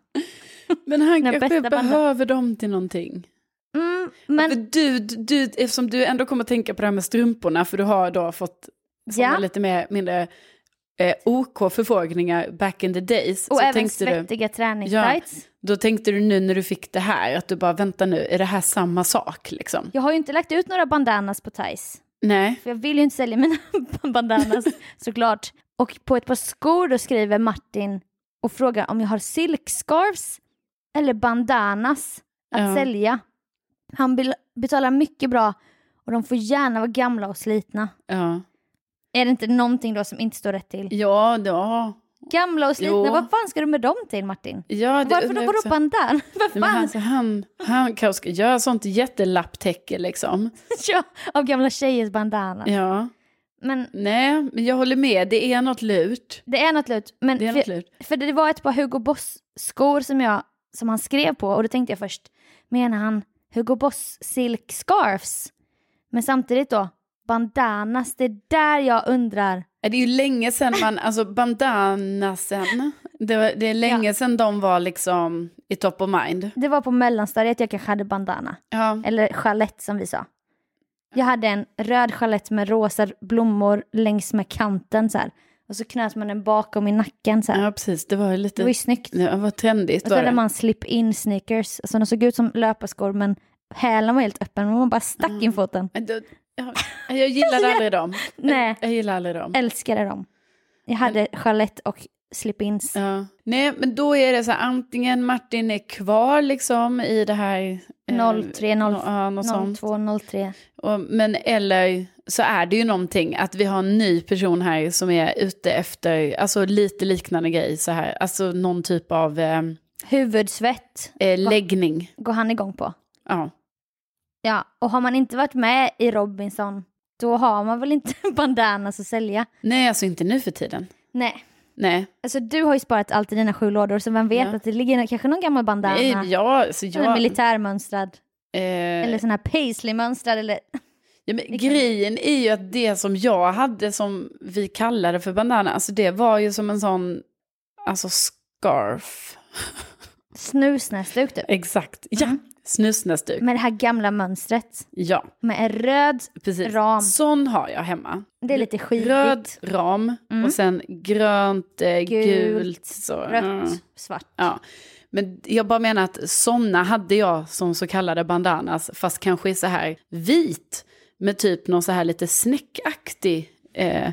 [SPEAKER 1] Men han
[SPEAKER 2] Den
[SPEAKER 1] kanske
[SPEAKER 2] bästa banden.
[SPEAKER 1] behöver dem till någonting.
[SPEAKER 2] Mm,
[SPEAKER 1] Men...
[SPEAKER 2] men
[SPEAKER 1] För du, du, eftersom du ändå kommer tänka på det här med strumporna, för du har då fått såna
[SPEAKER 2] Ja.
[SPEAKER 1] lite mer, mindre eh, OK-förfrågningar back in the days.
[SPEAKER 2] Och
[SPEAKER 1] så
[SPEAKER 2] även
[SPEAKER 1] tänkte du,
[SPEAKER 2] svettiga träningstights.
[SPEAKER 1] då tänkte du nu när du fick det här, att du bara vänta nu, är det här samma sak liksom?
[SPEAKER 2] Jag har ju inte lagt ut några bandanas på Thais.
[SPEAKER 1] Nej.
[SPEAKER 2] För jag vill ju inte sälja mina
[SPEAKER 1] [LAUGHS]
[SPEAKER 2] [LAUGHS] bandanas såklart. Och på ett par skor då skriver Martin och frågar om jag har silkscarves eller bandanas att
[SPEAKER 1] Ja.
[SPEAKER 2] sälja. Han bel- betalar mycket bra och de får gärna vara gamla och slitna.
[SPEAKER 1] Ja.
[SPEAKER 2] Är det inte någonting då som inte står rätt till?
[SPEAKER 1] Ja, ja.
[SPEAKER 2] Gamla och slitna,
[SPEAKER 1] Jo.
[SPEAKER 2] vad fan ska du med dem till Martin?
[SPEAKER 1] ja det
[SPEAKER 2] Varför
[SPEAKER 1] undrar
[SPEAKER 2] då,
[SPEAKER 1] jag också.
[SPEAKER 2] vadå bandan? [LAUGHS] Vad
[SPEAKER 1] Nej, men
[SPEAKER 2] fan?
[SPEAKER 1] alltså, han, han kanske ska göra sånt jättelapptäcke liksom.
[SPEAKER 2] Ja, Av gamla tjejers bandanas.
[SPEAKER 1] Ja.
[SPEAKER 2] Men
[SPEAKER 1] Nej, men jag håller med, det är något lurt.
[SPEAKER 2] Det är något lurt. Men
[SPEAKER 1] Det är
[SPEAKER 2] för,
[SPEAKER 1] något lurt.
[SPEAKER 2] för det var ett par Hugo Boss-skor som, jag, som han skrev på och då tänkte jag först, menar han Hugo Boss silk scarves? Men samtidigt då, bandanas, det är där jag undrar.
[SPEAKER 1] Ja, Det är ju länge sedan man, alltså bandanasen, det, var, det är länge sedan de var liksom i top of mind.
[SPEAKER 2] Det var på mellanstadiet jag kanske hade bandana,
[SPEAKER 1] Ja,
[SPEAKER 2] eller chalett som vi sa. Jag hade en röd chalett med rosa blommor längs med kanten så här. Och så knöt man den bakom i nacken så här.
[SPEAKER 1] ja precis, det var ju
[SPEAKER 2] Det var ju
[SPEAKER 1] lite,
[SPEAKER 2] snyggt.
[SPEAKER 1] det var trendigt
[SPEAKER 2] Och så
[SPEAKER 1] var
[SPEAKER 2] hade
[SPEAKER 1] det.
[SPEAKER 2] man slip-in sneakers. Alltså de såg ut som löparskor men hälen var helt öppen. Man bara stack
[SPEAKER 1] Mm. [LAUGHS]
[SPEAKER 2] in foten.
[SPEAKER 1] Men det- ja, Jag [LAUGHS] gillade aldrig dem.
[SPEAKER 2] Nej.
[SPEAKER 1] Jag gillar aldrig dem.
[SPEAKER 2] Älskade dem. Jag hade chalett och slip-ins.
[SPEAKER 1] Ja. Nej, men då är det så här, antingen Martin är kvar liksom i det här... eh,
[SPEAKER 2] 03, 0,
[SPEAKER 1] ja, något sånt.
[SPEAKER 2] 02, 03.
[SPEAKER 1] Och, men eller så är det ju någonting att vi har en ny person här som är ute efter, alltså lite liknande grej så här, alltså någon typ av eh,
[SPEAKER 2] Huvudsvett
[SPEAKER 1] eh, läggning.
[SPEAKER 2] går han igång på.
[SPEAKER 1] Ja.
[SPEAKER 2] Ja, och har man inte varit med i Robinson då har man väl inte [LAUGHS] bandanas att sälja.
[SPEAKER 1] Nej, alltså inte nu för tiden.
[SPEAKER 2] Nej,
[SPEAKER 1] Nej,
[SPEAKER 2] alltså du har ju sparat allt i dina sju lådor så vem vet
[SPEAKER 1] Ja.
[SPEAKER 2] att det ligger kanske någon gammal bandana.
[SPEAKER 1] Nej jag, så
[SPEAKER 2] Eller
[SPEAKER 1] jag...
[SPEAKER 2] militärmönstrad.
[SPEAKER 1] Eh,
[SPEAKER 2] Eller sån här paisley-mönstrad eller
[SPEAKER 1] Ja, men grejen är ju att det som jag hade som vi kallade för bandana, alltså det var ju som en sån, alltså scarf.
[SPEAKER 2] snusnäsduk typ.
[SPEAKER 1] Exakt, ja. Mm. Snusnäsduk.
[SPEAKER 2] Med det här gamla mönstret.
[SPEAKER 1] Ja,
[SPEAKER 2] Med en röd,
[SPEAKER 1] precis.
[SPEAKER 2] Ram.
[SPEAKER 1] Sån har jag hemma.
[SPEAKER 2] det är lite skitigt.
[SPEAKER 1] Röd ram
[SPEAKER 2] Mm.
[SPEAKER 1] och sen grönt, eh,
[SPEAKER 2] Gult,
[SPEAKER 1] gult, så.
[SPEAKER 2] rött,
[SPEAKER 1] mm.
[SPEAKER 2] svart.
[SPEAKER 1] Ja. Men jag bara menar att sådana hade jag som så kallade bandanas, fast kanske i så här vit med typ någon så här lite snäckaktig eh,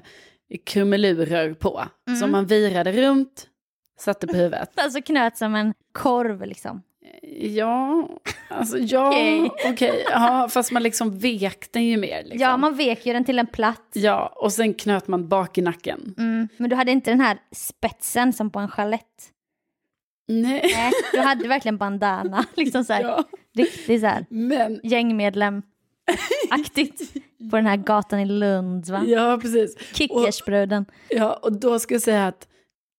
[SPEAKER 1] krumelurer på.
[SPEAKER 2] Mm.
[SPEAKER 1] Som man virade runt, satte på huvudet.
[SPEAKER 2] Alltså knöt som en korv liksom.
[SPEAKER 1] Ja, alltså ja, okej.
[SPEAKER 2] [LAUGHS] Okej.
[SPEAKER 1] Ja, fast man liksom vek den ju mer. Liksom.
[SPEAKER 2] Ja, man vek ju den till en platt.
[SPEAKER 1] ja, och sen knöt man bak i nacken.
[SPEAKER 2] Mm. Men du hade inte den här spetsen som på en chalett. Mm.
[SPEAKER 1] Nej.
[SPEAKER 2] Nej, du hade verkligen bandana. [LAUGHS] Liksom så här,
[SPEAKER 1] Ja,
[SPEAKER 2] Riktigt så här
[SPEAKER 1] men
[SPEAKER 2] gängmedlem-aktigt.
[SPEAKER 1] [LAUGHS]
[SPEAKER 2] På den här gatan i Lund, va?
[SPEAKER 1] ja, precis.
[SPEAKER 2] Kickersbruden.
[SPEAKER 1] Ja, och då ska jag säga att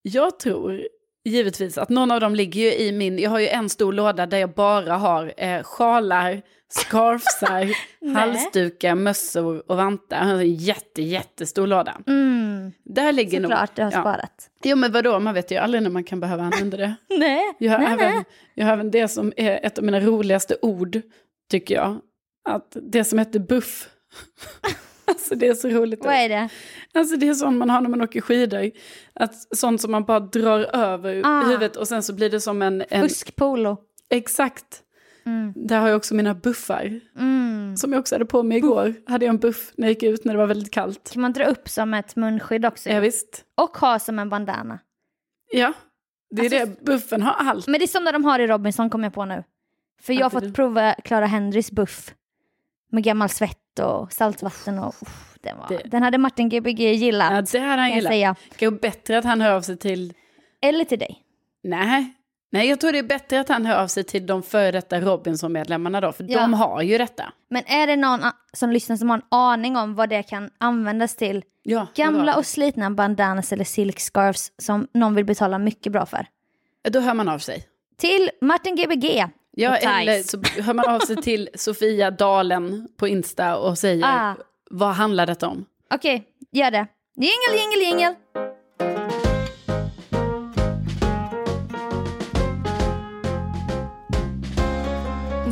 [SPEAKER 1] jag tror givetvis att någon av dem ligger ju i min, jag har ju en stor låda där jag bara har eh, sjalar,
[SPEAKER 2] [LAUGHS]
[SPEAKER 1] scarfsar, halsdukar, mössor och vantar. Jag har en jätte, jättestor låda.
[SPEAKER 2] Mm,
[SPEAKER 1] Där ligger nog...
[SPEAKER 2] såklart du har
[SPEAKER 1] ja.
[SPEAKER 2] sparat.
[SPEAKER 1] Jo men vadå, man vet ju aldrig när man kan behöva använda det.
[SPEAKER 2] Nej,
[SPEAKER 1] Jag har,
[SPEAKER 2] nej,
[SPEAKER 1] även,
[SPEAKER 2] nej.
[SPEAKER 1] jag har även det som är ett av mina roligaste ord, tycker jag. Att det som heter buff. [LAUGHS] alltså det är så roligt.
[SPEAKER 2] Vad är det?
[SPEAKER 1] Alltså det är sånt man har när man åker skidor. Att sånt som man bara drar över
[SPEAKER 2] Ah.
[SPEAKER 1] huvudet och sen så blir det som en... en
[SPEAKER 2] Fuskpolo.
[SPEAKER 1] exakt.
[SPEAKER 2] Mm.
[SPEAKER 1] Där har jag också mina buffar.
[SPEAKER 2] Mm.
[SPEAKER 1] Som jag också hade på mig igår. Hade jag en buff när jag gick ut när det var väldigt kallt.
[SPEAKER 2] Kan man dra upp som ett munskydd också?
[SPEAKER 1] Ja, visst.
[SPEAKER 2] Och ha som en bandana.
[SPEAKER 1] Ja, det är
[SPEAKER 2] Alltså-
[SPEAKER 1] det. Buffen har allt.
[SPEAKER 2] Men det är sådana de har i Robinson kom jag på nu. För jag har
[SPEAKER 1] Hade du?
[SPEAKER 2] fått prova Clara Henrys buff. Med gammal svett och saltvatten och... uff, den, var,
[SPEAKER 1] Det-
[SPEAKER 2] den hade Martin Gbg gillat.
[SPEAKER 1] Ja, det hade han
[SPEAKER 2] kan jag
[SPEAKER 1] gillat.
[SPEAKER 2] säga.
[SPEAKER 1] Kanske bättre att han hör av sig till...
[SPEAKER 2] Eller till dig.
[SPEAKER 1] Nej. Nej, jag tror det är bättre att han hör av sig till de före detta Robinson-medlemmarna då. För
[SPEAKER 2] Ja.
[SPEAKER 1] de har ju detta.
[SPEAKER 2] Men är det någon a- som lyssnar som har en aning om vad det kan användas till?
[SPEAKER 1] Ja,
[SPEAKER 2] Gamla
[SPEAKER 1] bra.
[SPEAKER 2] och slitna bandanas eller silkscarves som någon vill betala mycket bra för.
[SPEAKER 1] Då hör man av sig.
[SPEAKER 2] Till Martin Gbg.
[SPEAKER 1] Ja,
[SPEAKER 2] Och Thais.
[SPEAKER 1] eller så hör man av sig
[SPEAKER 2] [LAUGHS]
[SPEAKER 1] till Sofia Dalen på Insta och säger
[SPEAKER 2] Ah.
[SPEAKER 1] vad handlar detta om?
[SPEAKER 2] Okej, gör det. Jingel, jingel, jingel.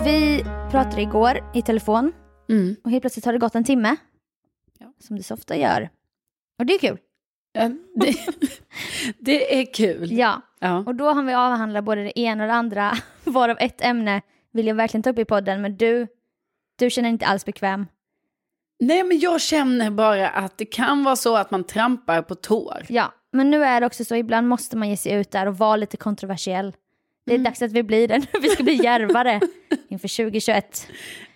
[SPEAKER 2] Vi pratade igår i telefon
[SPEAKER 1] Mm.
[SPEAKER 2] och helt plötsligt har det gått en timme.
[SPEAKER 1] Ja.
[SPEAKER 2] Som det så ofta gör. Och det är kul.
[SPEAKER 1] Ja, [LAUGHS] det, det är kul.
[SPEAKER 2] Ja,
[SPEAKER 1] Ja.
[SPEAKER 2] och då har vi avhandlat både det ena och det andra. [LAUGHS] Varav ett ämne vill jag verkligen ta upp i podden, men du, du känner dig inte alls bekväm.
[SPEAKER 1] Nej, men jag känner bara att det kan vara så att man trampar på tår.
[SPEAKER 2] Ja, men nu är det också så, ibland måste man ge sig ut där och vara lite kontroversiell. Det
[SPEAKER 1] Mm.
[SPEAKER 2] är dags att vi blir det nu, [LAUGHS] vi ska
[SPEAKER 1] [LAUGHS]
[SPEAKER 2] bli djärvare inför 2021.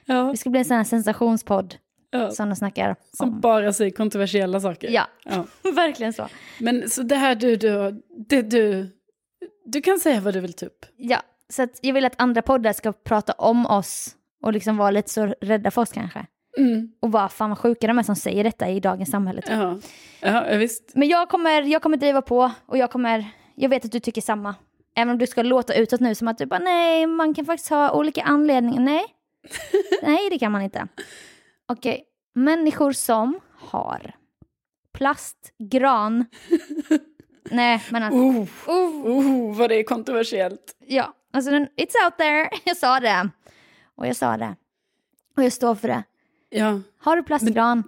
[SPEAKER 1] Ja,
[SPEAKER 2] Vi ska bli en sån här sensationspodd
[SPEAKER 1] ja.
[SPEAKER 2] som de snackar
[SPEAKER 1] Som
[SPEAKER 2] om.
[SPEAKER 1] bara säger kontroversiella saker.
[SPEAKER 2] Ja, [LAUGHS]
[SPEAKER 1] Ja.
[SPEAKER 2] verkligen så.
[SPEAKER 1] Men så det här du, du, det du, du kan säga vad du vill typ.
[SPEAKER 2] Ja, så att jag vill att andra poddar ska prata om oss och liksom vara lite så rädda för oss kanske.
[SPEAKER 1] Mm.
[SPEAKER 2] Och bara, fan vad sjuka de är som säger detta i dagens samhälle. typ.
[SPEAKER 1] Ja. ja, visst.
[SPEAKER 2] Men jag kommer, jag kommer driva på och jag kommer, jag vet att du tycker samma. Även om du ska låta utåt nu som att du bara nej, man kan faktiskt ha olika anledningar. Nej, nej det kan man inte. Okej, Människor som har plastgran. Nej, men alltså.
[SPEAKER 1] Oh,
[SPEAKER 2] Oh.
[SPEAKER 1] oh, vad det är kontroversiellt.
[SPEAKER 2] Ja, alltså den, it's out there. [LAUGHS] Jag sa det. Och jag sa det. Och jag står för det.
[SPEAKER 1] Ja,
[SPEAKER 2] Har du plastgran,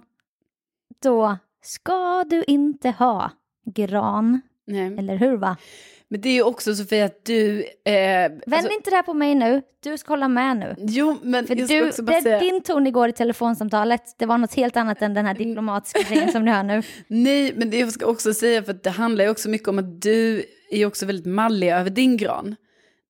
[SPEAKER 2] då ska du inte ha gran.
[SPEAKER 1] nej.
[SPEAKER 2] Eller hur va?
[SPEAKER 1] Men det är ju också Sofia att du... Eh,
[SPEAKER 2] Vänd inte det här på mig nu. Du ska hålla med nu.
[SPEAKER 1] jo, men
[SPEAKER 2] För
[SPEAKER 1] jag ska
[SPEAKER 2] du,
[SPEAKER 1] också bara
[SPEAKER 2] det,
[SPEAKER 1] säga...
[SPEAKER 2] din ton igår i telefonsamtalet, det var något helt annat än den
[SPEAKER 1] [LAUGHS]
[SPEAKER 2] här diplomatiska grejen som du hör nu.
[SPEAKER 1] Nej, men det jag ska också säga för att det handlar ju också mycket om att du är också väldigt mallig över din gran.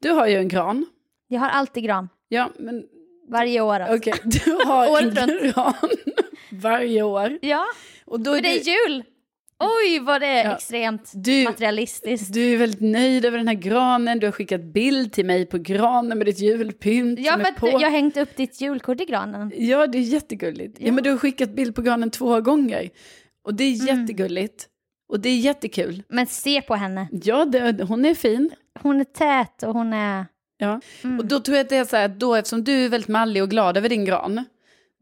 [SPEAKER 1] Du har ju en gran.
[SPEAKER 2] Jag har alltid gran,
[SPEAKER 1] Ja, men
[SPEAKER 2] varje år. alltså.
[SPEAKER 1] okej.
[SPEAKER 2] [LAUGHS]
[SPEAKER 1] Du har en
[SPEAKER 2] Året
[SPEAKER 1] gran [LAUGHS] varje år.
[SPEAKER 2] Ja,
[SPEAKER 1] Och då är
[SPEAKER 2] för det
[SPEAKER 1] du,
[SPEAKER 2] är jul! Oj, vad det är
[SPEAKER 1] Ja.
[SPEAKER 2] extremt
[SPEAKER 1] du,
[SPEAKER 2] materialistiskt.
[SPEAKER 1] du är väldigt nöjd över den här granen. Du har skickat bild till mig på granen med ditt julpynt
[SPEAKER 2] Ja,
[SPEAKER 1] som
[SPEAKER 2] för
[SPEAKER 1] är
[SPEAKER 2] att
[SPEAKER 1] på.
[SPEAKER 2] du, jag har hängt upp ditt julkort i granen.
[SPEAKER 1] Ja, det är jättegulligt. Ja.
[SPEAKER 2] Ja.
[SPEAKER 1] men du har skickat bild på granen två gånger. Och det är
[SPEAKER 2] Mm.
[SPEAKER 1] jättegulligt. Och det är jättekul.
[SPEAKER 2] Men se på henne,
[SPEAKER 1] Ja, det, hon är fin.
[SPEAKER 2] hon är tät och hon är...
[SPEAKER 1] Ja.
[SPEAKER 2] Mm.
[SPEAKER 1] Och då tror jag att det är så här, att då, eftersom du är väldigt mallig och glad över din gran,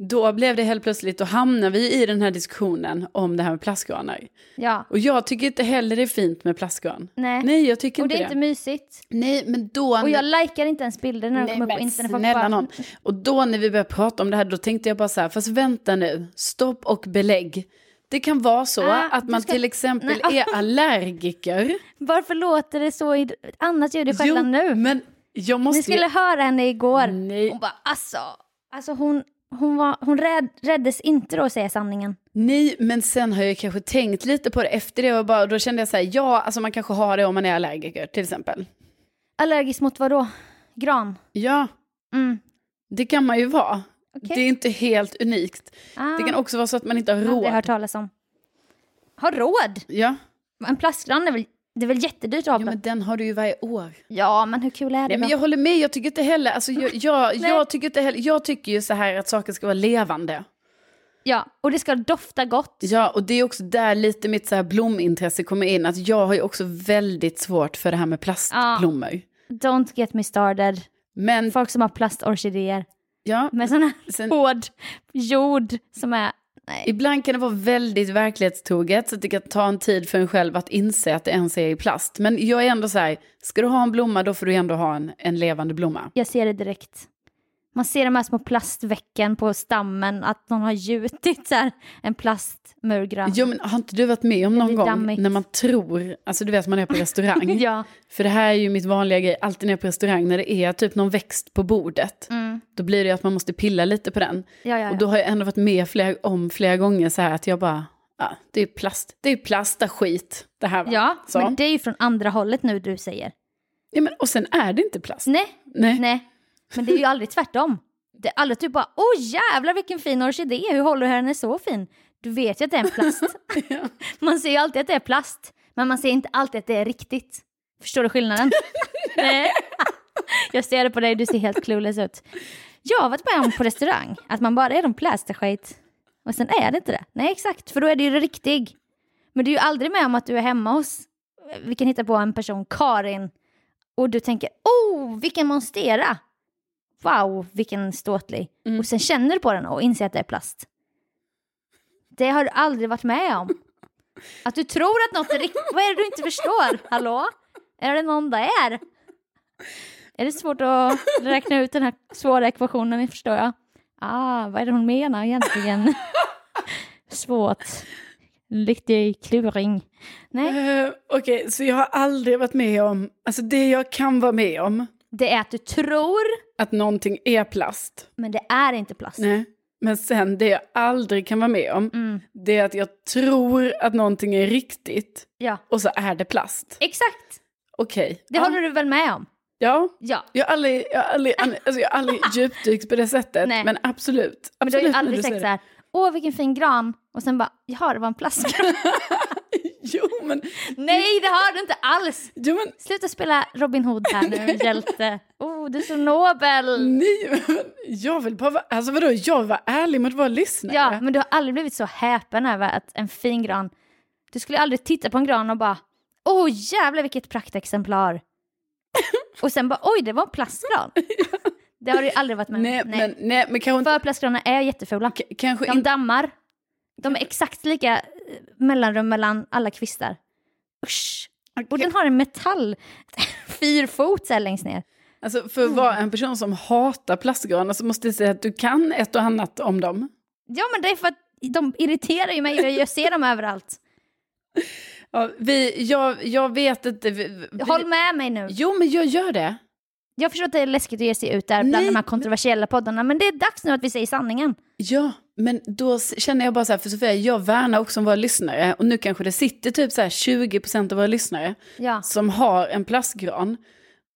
[SPEAKER 1] då blev det helt plötsligt, då hamnar vi i den här diskussionen om det här med plastgranar.
[SPEAKER 2] Ja,
[SPEAKER 1] Och jag tycker inte heller det är fint med plastgran.
[SPEAKER 2] nej.
[SPEAKER 1] Nej, jag tycker
[SPEAKER 2] och det
[SPEAKER 1] inte
[SPEAKER 2] är
[SPEAKER 1] det.
[SPEAKER 2] inte mysigt.
[SPEAKER 1] Nej, men då...
[SPEAKER 2] Och jag likar inte ens bilder när de kommer upp på
[SPEAKER 1] men
[SPEAKER 2] internet. Folk
[SPEAKER 1] snälla
[SPEAKER 2] bara-
[SPEAKER 1] någon. Och då när vi började prata om det här, då tänkte jag bara så här, fast vänta nu, stopp och belägg. Det kan vara så
[SPEAKER 2] Ah,
[SPEAKER 1] att
[SPEAKER 2] du
[SPEAKER 1] man
[SPEAKER 2] ska-
[SPEAKER 1] till exempel
[SPEAKER 2] Nej. ah.
[SPEAKER 1] är
[SPEAKER 2] [LAUGHS]
[SPEAKER 1] allergiker.
[SPEAKER 2] Varför låter det så i ett annat ljud i
[SPEAKER 1] Jo,
[SPEAKER 2] skällan nu?
[SPEAKER 1] men jag
[SPEAKER 2] Ni
[SPEAKER 1] måste ju...
[SPEAKER 2] skulle höra henne igår.
[SPEAKER 1] Nej,
[SPEAKER 2] Hon bara alltså, alltså hon, hon, var, hon rädd, räddes inte då säger sanningen.
[SPEAKER 1] nej, men sen har jag kanske tänkt lite på det efter det och bara, då kände jag så här, ja, alltså man kanske har det om man är allergiker till exempel.
[SPEAKER 2] Allergisk mot vad då? Gran?
[SPEAKER 1] Ja,
[SPEAKER 2] Mm.
[SPEAKER 1] det kan man ju vara.
[SPEAKER 2] Okej.
[SPEAKER 1] Det är inte helt unikt.
[SPEAKER 2] Ah,
[SPEAKER 1] Det kan också vara så att man inte har
[SPEAKER 2] Aldrig
[SPEAKER 1] råd.
[SPEAKER 2] hört talas om. Har råd?
[SPEAKER 1] Ja.
[SPEAKER 2] En plastgran är väl, det är väl jättedyrt att ha
[SPEAKER 1] ja,
[SPEAKER 2] på-
[SPEAKER 1] men den har du ju varje år.
[SPEAKER 2] Ja, men hur kul är det
[SPEAKER 1] Nej, men
[SPEAKER 2] då?
[SPEAKER 1] jag håller med, jag tycker inte heller, alltså,
[SPEAKER 2] [LAUGHS]
[SPEAKER 1] jag, jag,
[SPEAKER 2] Nej.
[SPEAKER 1] jag tycker inte heller, jag tycker ju så här att saker ska vara levande.
[SPEAKER 2] Ja, och det ska dofta gott.
[SPEAKER 1] Ja, och det är också där lite mitt så här blomintresse kommer in, att jag har ju också väldigt svårt för det här med plastblommor.
[SPEAKER 2] Don't get me started.
[SPEAKER 1] Men,
[SPEAKER 2] Folk som har plastorkidéer
[SPEAKER 1] ja,
[SPEAKER 2] med sån här
[SPEAKER 1] sen,
[SPEAKER 2] hård jord som är... Nej.
[SPEAKER 1] ibland kan det vara väldigt verklighetstroget, så att det kan ta en tid för en själv att inse att det ens är i plast. Men jag är ändå så här, ska du ha en blomma, då får du ändå ha en, en levande blomma.
[SPEAKER 2] Jag ser det direkt. Man ser de här små plastvecken på stammen, att någon har gjutit så här, en plastmurgra.
[SPEAKER 1] Jo, men har inte du varit med om
[SPEAKER 2] Det
[SPEAKER 1] någon
[SPEAKER 2] blir
[SPEAKER 1] gång
[SPEAKER 2] dammigt.
[SPEAKER 1] när man tror, alltså du vet man är på restaurang,
[SPEAKER 2] Ja.
[SPEAKER 1] För det här är ju mitt vanliga grej, alltid när jag är på restaurang, när det är typ någon växt på bordet,
[SPEAKER 2] Mm.
[SPEAKER 1] då blir det ju att man måste pilla lite på den.
[SPEAKER 2] Ja, ja,
[SPEAKER 1] Och
[SPEAKER 2] ja.
[SPEAKER 1] då har jag ändå varit med flera, om flera gånger så här att jag bara, ja, det är ju plast, det är ju plasta skit det här va?
[SPEAKER 2] ja
[SPEAKER 1] så.
[SPEAKER 2] men det är ju från andra hållet nu du säger.
[SPEAKER 1] ja men, och sen är det inte plast.
[SPEAKER 2] Nej,
[SPEAKER 1] Nej.
[SPEAKER 2] Mm, nej. Men det är ju aldrig tvärtom. Det är aldrig typ bara, åh jävlar vilken fin orkidé, hur håller du henne så fin? Du vet ju att det är en plast.
[SPEAKER 1] [LAUGHS] Ja.
[SPEAKER 2] Man ser ju alltid att det är plast, men man ser inte alltid att det är riktigt. Förstår
[SPEAKER 1] [LAUGHS]
[SPEAKER 2] du skillnaden? Nej. [LAUGHS] Jag ser det på dig, du ser helt clueless ut. Jag har varit med om på restaurang att man bara är de plastskit och sen är det inte det. Nej exakt, för då är det ju det riktig. Men du är ju aldrig med om att du är hemma hos, eh, vi kan hitta på en person, Karin, och du tänker oh vilken monstera. Wow vilken ståtlig.
[SPEAKER 1] Mm.
[SPEAKER 2] Och sen känner du på den och inser att det är plast. Det har du aldrig varit
[SPEAKER 1] [LAUGHS]
[SPEAKER 2] med om. Att du tror att något är riktigt. Vad är det du inte förstår? Hallå? Är det någon där? Är det svårt att räkna ut den här svåra ekvationen, ni förstår jag? Ah, vad är det hon menar
[SPEAKER 1] [LAUGHS]
[SPEAKER 2] egentligen? Svårt. Riktig kluring. Nej,
[SPEAKER 1] Eh, Okej, så jag har aldrig varit med om, alltså det jag kan vara med om,
[SPEAKER 2] det är att du tror,
[SPEAKER 1] att någonting är plast.
[SPEAKER 2] men det är inte plast.
[SPEAKER 1] Nej. Men sen det jag aldrig kan vara med om,
[SPEAKER 2] Mm,
[SPEAKER 1] det är att jag tror att någonting är riktigt
[SPEAKER 2] ja,
[SPEAKER 1] och så är det plast.
[SPEAKER 2] exakt.
[SPEAKER 1] Okej.
[SPEAKER 2] Det
[SPEAKER 1] ja.
[SPEAKER 2] håller du väl med om?
[SPEAKER 1] Ja,
[SPEAKER 2] Ja.
[SPEAKER 1] jag har aldrig, jag har aldrig, alltså jag har
[SPEAKER 2] [LAUGHS]
[SPEAKER 1] aldrig djupdykt på det sättet.
[SPEAKER 2] Nej.
[SPEAKER 1] Men absolut.
[SPEAKER 2] Men du har
[SPEAKER 1] absolut
[SPEAKER 2] ju
[SPEAKER 1] när
[SPEAKER 2] aldrig
[SPEAKER 1] säger
[SPEAKER 2] sagt så här, åh vilken fin gran, och sen bara, jaha det var en [LAUGHS] plastgran.
[SPEAKER 1] det. Jo men,
[SPEAKER 2] Nej, det har du inte alls!
[SPEAKER 1] jo, men
[SPEAKER 2] Sluta spela Robin Hood här [LAUGHS] nu, hjälte. Oh, du är så nobel!
[SPEAKER 1] nej. Men, jag vill bara vara, alltså vadå, jag vill vara ärlig mot våra lyssnare.
[SPEAKER 2] Ja, men du har aldrig blivit så häpen över att en fin gran... Du skulle aldrig titta på en gran och bara åh oh, [LAUGHS] jävlar vilket praktexemplar. och sen bara oj det var en plastgran. Det har du ju aldrig varit med om.
[SPEAKER 1] Nej, men, nej, men kanske inte,
[SPEAKER 2] Förplastkranarna är jättefula.
[SPEAKER 1] k- kanske
[SPEAKER 2] De
[SPEAKER 1] inte...
[SPEAKER 2] dammar. De är exakt lika eh, mellanrum mellan alla kvistar. Usch! Och den har en metall [LAUGHS] fyrfot så här längst ner.
[SPEAKER 1] Alltså, för att
[SPEAKER 2] Mm.
[SPEAKER 1] vara en person som hatar plastgranar så måste jag säga att du kan ett och annat om dem.
[SPEAKER 2] Ja men det är för att de irriterar ju mig, jag ser
[SPEAKER 1] [LAUGHS]
[SPEAKER 2] dem överallt.
[SPEAKER 1] Ja, vi, jag, jag vet inte... Vi, vi,
[SPEAKER 2] Håll med mig nu.
[SPEAKER 1] Jo, men jag gör det.
[SPEAKER 2] Jag förstår att det är läskigt att ge sig ut där bland
[SPEAKER 1] Nej,
[SPEAKER 2] de här kontroversiella poddarna men det är dags nu att vi säger sanningen.
[SPEAKER 1] Ja, men då s- känner jag bara så här, för Sofia, jag värnar också om våra lyssnare. Och nu kanske det sitter typ så här 20% av våra lyssnare
[SPEAKER 2] Ja,
[SPEAKER 1] som har en plastgran.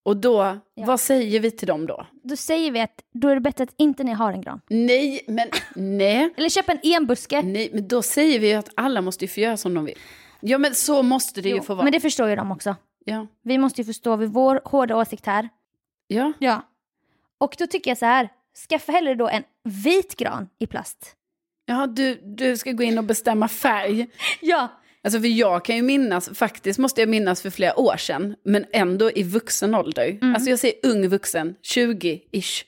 [SPEAKER 1] Och då,
[SPEAKER 2] Ja.
[SPEAKER 1] vad säger vi till dem då?
[SPEAKER 2] då säger vi att då är det bättre att inte ni har en gran.
[SPEAKER 1] Nej,
[SPEAKER 2] [LAUGHS]
[SPEAKER 1] men nej.
[SPEAKER 2] Eller köp en enbuske.
[SPEAKER 1] Nej, men då säger vi ju att alla måste ju få göra som de vill. Ja, men så måste det ju få vara.
[SPEAKER 2] Men det förstår ju de också.
[SPEAKER 1] Ja.
[SPEAKER 2] Vi måste ju förstå vid vår hårda åsikt här.
[SPEAKER 1] ja.
[SPEAKER 2] Ja. Och då tycker jag så här, skaffa hellre då en vit gran i plast.
[SPEAKER 1] Jaha, du, du ska gå in och bestämma färg.
[SPEAKER 2] Ja.
[SPEAKER 1] Alltså för jag kan ju minnas, faktiskt måste jag minnas för flera år sedan, men ändå i vuxen ålder.
[SPEAKER 2] Mm.
[SPEAKER 1] Alltså jag säger ung vuxen, 20-ish.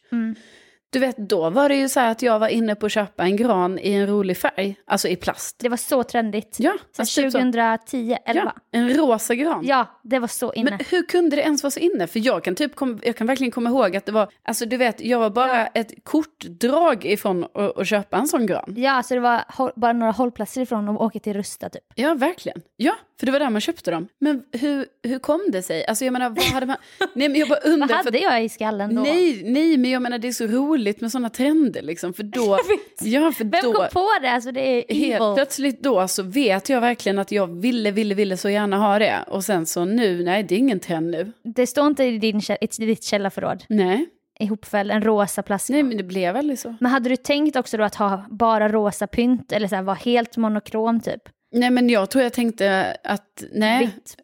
[SPEAKER 1] Du vet, då var det ju så här att jag var inne på att köpa en gran i en rolig färg, alltså i plast.
[SPEAKER 2] Det var så trendigt.
[SPEAKER 1] Ja,
[SPEAKER 2] Så
[SPEAKER 1] alltså typ så.
[SPEAKER 2] 2010, 11.
[SPEAKER 1] Ja, en rosa gran.
[SPEAKER 2] Ja, det var så inne.
[SPEAKER 1] Men hur kunde det ens vara så inne? För jag kan, typ kom, jag kan verkligen komma ihåg att det var, alltså du vet, jag var bara ett kortdrag ifrån att, att köpa en sån gran.
[SPEAKER 2] Ja, så det var hå- bara några hållplatser ifrån och åka till Rusta typ.
[SPEAKER 1] Ja, verkligen. Ja, för det var där man köpte dem. Men hur, hur kom det sig? Alltså jag menar, vad hade
[SPEAKER 2] [LAUGHS]
[SPEAKER 1] man... Nej, men jag bara undrar.
[SPEAKER 2] Vad
[SPEAKER 1] för att-
[SPEAKER 2] hade jag i skallen då?
[SPEAKER 1] Nej, nej, men jag menar det är så roligt med sådana trender liksom. För
[SPEAKER 2] [LAUGHS]
[SPEAKER 1] då, ja, för
[SPEAKER 2] Vem
[SPEAKER 1] då
[SPEAKER 2] kom på det? Alltså det är evil.
[SPEAKER 1] helt plötsligt då så vet jag verkligen att jag ville, ville, ville så gärna ha det. Och sen så nu, nej det är ingen trend nu.
[SPEAKER 2] Det står inte i, din, kä- i ditt källarförråd
[SPEAKER 1] Nej,
[SPEAKER 2] ihopfälld, en rosa plastgran.
[SPEAKER 1] nej men det blev aldrig så.
[SPEAKER 2] Men hade du tänkt också då att ha bara rosa pynt eller så här, vara helt monokrom typ?
[SPEAKER 1] Nej men jag tror jag tänkte att, nej.
[SPEAKER 2] Vitt.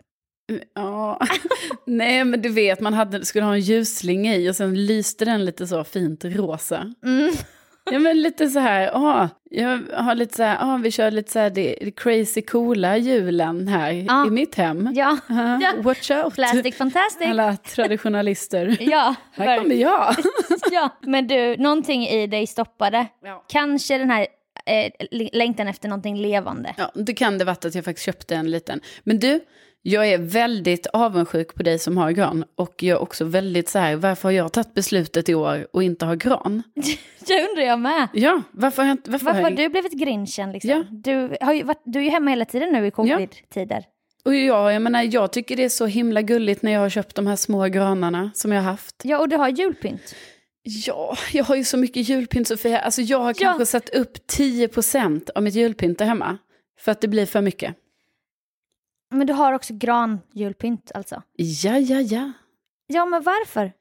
[SPEAKER 1] Mm, Ja. [LAUGHS] nej men du vet, man hade, skulle ha en ljusslinga i och sen lyste den lite så fint rosa.
[SPEAKER 2] Mm.
[SPEAKER 1] Ja men lite så här, ja, jag har lite så här, ja vi kör lite så här det, det crazy coola julen här
[SPEAKER 2] Ja.
[SPEAKER 1] i mitt hem. [LAUGHS]
[SPEAKER 2] Ja,
[SPEAKER 1] Ja,
[SPEAKER 2] Ja.
[SPEAKER 1] Watch out,
[SPEAKER 2] plastic fantastic.
[SPEAKER 1] alla traditionalister.
[SPEAKER 2] [LAUGHS] Ja,
[SPEAKER 1] Här kommer jag.
[SPEAKER 2] ja, men du, någonting i dig stoppade. Kanske den här eh, l- längtan efter någonting [LAUGHS] levande.
[SPEAKER 1] Ja, det kan det varit att jag faktiskt köpte en liten. Men du, jag är väldigt avundsjuk på dig som har gran. Och jag är också väldigt så här, varför har jag tagit beslutet i år och inte har gran?
[SPEAKER 2] Det undrar jag med.
[SPEAKER 1] Ja, varför har jag inte... Varför
[SPEAKER 2] Varför
[SPEAKER 1] har
[SPEAKER 2] har
[SPEAKER 1] jag,
[SPEAKER 2] du blivit grinchen liksom?
[SPEAKER 1] Ja.
[SPEAKER 2] Du, har ju varit, du är ju hemma hela tiden nu i covid-tider.
[SPEAKER 1] Och jag, jag menar, jag tycker det är så himla gulligt när jag har köpt de här små granarna som jag har haft.
[SPEAKER 2] Ja, och du har julpynt.
[SPEAKER 1] Ja, jag har ju så mycket julpynt Sofia. Alltså jag har kanske satt upp 10% av mitt julpynt där hemma. För att det blir för mycket.
[SPEAKER 2] Men du har också granjulpynt alltså.
[SPEAKER 1] Ja, ja, ja.
[SPEAKER 2] Ja, men varför?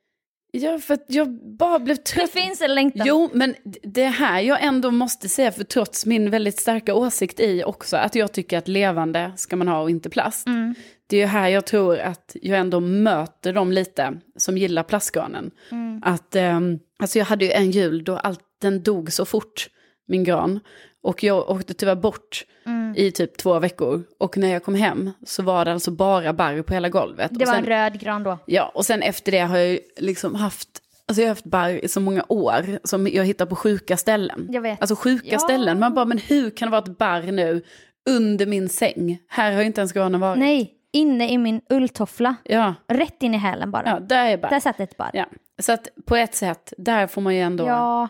[SPEAKER 1] Ja, för att jag bara blev
[SPEAKER 2] Det
[SPEAKER 1] trött.
[SPEAKER 2] finns en längtan.
[SPEAKER 1] Jo, men d- det här jag ändå måste säga, för trots min väldigt starka åsikt i också, att jag tycker att levande ska man ha och inte plast.
[SPEAKER 2] Mm.
[SPEAKER 1] Det är ju här jag tror att jag ändå möter dem lite som gillar plastgranen.
[SPEAKER 2] Mm.
[SPEAKER 1] Att, ehm, alltså jag hade ju en jul då allt, den dog så fort, min gran. Och jag åkte tyvärr bort
[SPEAKER 2] Mm.
[SPEAKER 1] i typ två veckor. Och när jag kom hem så var det alltså bara barr på hela golvet.
[SPEAKER 2] Det
[SPEAKER 1] och
[SPEAKER 2] var
[SPEAKER 1] sen,
[SPEAKER 2] en röd gran då.
[SPEAKER 1] Ja, och sen efter det har jag ju liksom haft, alltså jag har haft barr i så många år som jag hittar på sjuka ställen.
[SPEAKER 2] Jag vet.
[SPEAKER 1] Alltså sjuka
[SPEAKER 2] Ja.
[SPEAKER 1] ställen, man bara men hur kan det vara ett barr nu under min säng? Här har ju inte ens granen varit.
[SPEAKER 2] Nej, inne i min ulltoffla.
[SPEAKER 1] Ja,
[SPEAKER 2] Rätt in i hälen bara.
[SPEAKER 1] ja, där är barr.
[SPEAKER 2] Där satt ett barr.
[SPEAKER 1] Ja. Så att på ett sätt, där får man ju ändå...
[SPEAKER 2] Ja,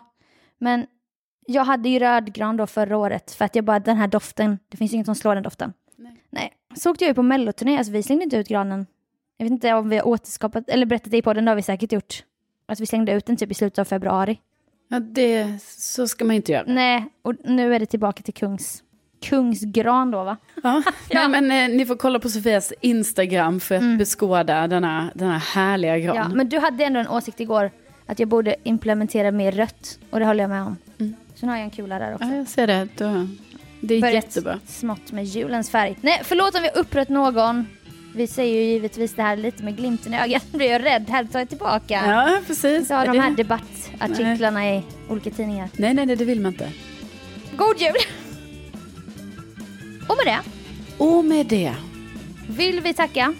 [SPEAKER 2] men jag hade ju rödgran då förra året för att jag bara, den här doften, det finns ju inget som slår den doften.
[SPEAKER 1] Nej.
[SPEAKER 2] Så åkte jag ju på melloturné, alltså vi slängde inte ut granen. Jag vet inte om vi har återskapat, eller berättat det i podden, det har vi säkert gjort. Att vi slängde ut den typ i slutet av februari.
[SPEAKER 1] Ja, det, så ska man ju inte göra.
[SPEAKER 2] Nej, och nu är det tillbaka till kungs. Kungsgran då va?
[SPEAKER 1] Ja. Nej, men eh, ni får kolla på Sofias Instagram för att beskåda denna, denna härliga gran.
[SPEAKER 2] Ja, men du hade ändå en åsikt igår att jag borde implementera mer rött och det håller jag med om. Sen har jag en kula där också.
[SPEAKER 1] Ja, jag ser det. Du, det är
[SPEAKER 2] Börjat
[SPEAKER 1] jättebra.
[SPEAKER 2] smått med julens färg. Nej, förlåt om vi har upprört någon. Vi säger ju givetvis det här lite med glimten i ögat. [LAUGHS] Nu blir jag rädd. Här tar jag tillbaka.
[SPEAKER 1] Ja, precis.
[SPEAKER 2] Så har de
[SPEAKER 1] Det-
[SPEAKER 2] här debattartiklarna i olika tidningar.
[SPEAKER 1] Nej, nej, nej, det vill man inte.
[SPEAKER 2] God jul! Och med det
[SPEAKER 1] Och med det,
[SPEAKER 2] vill vi tacka.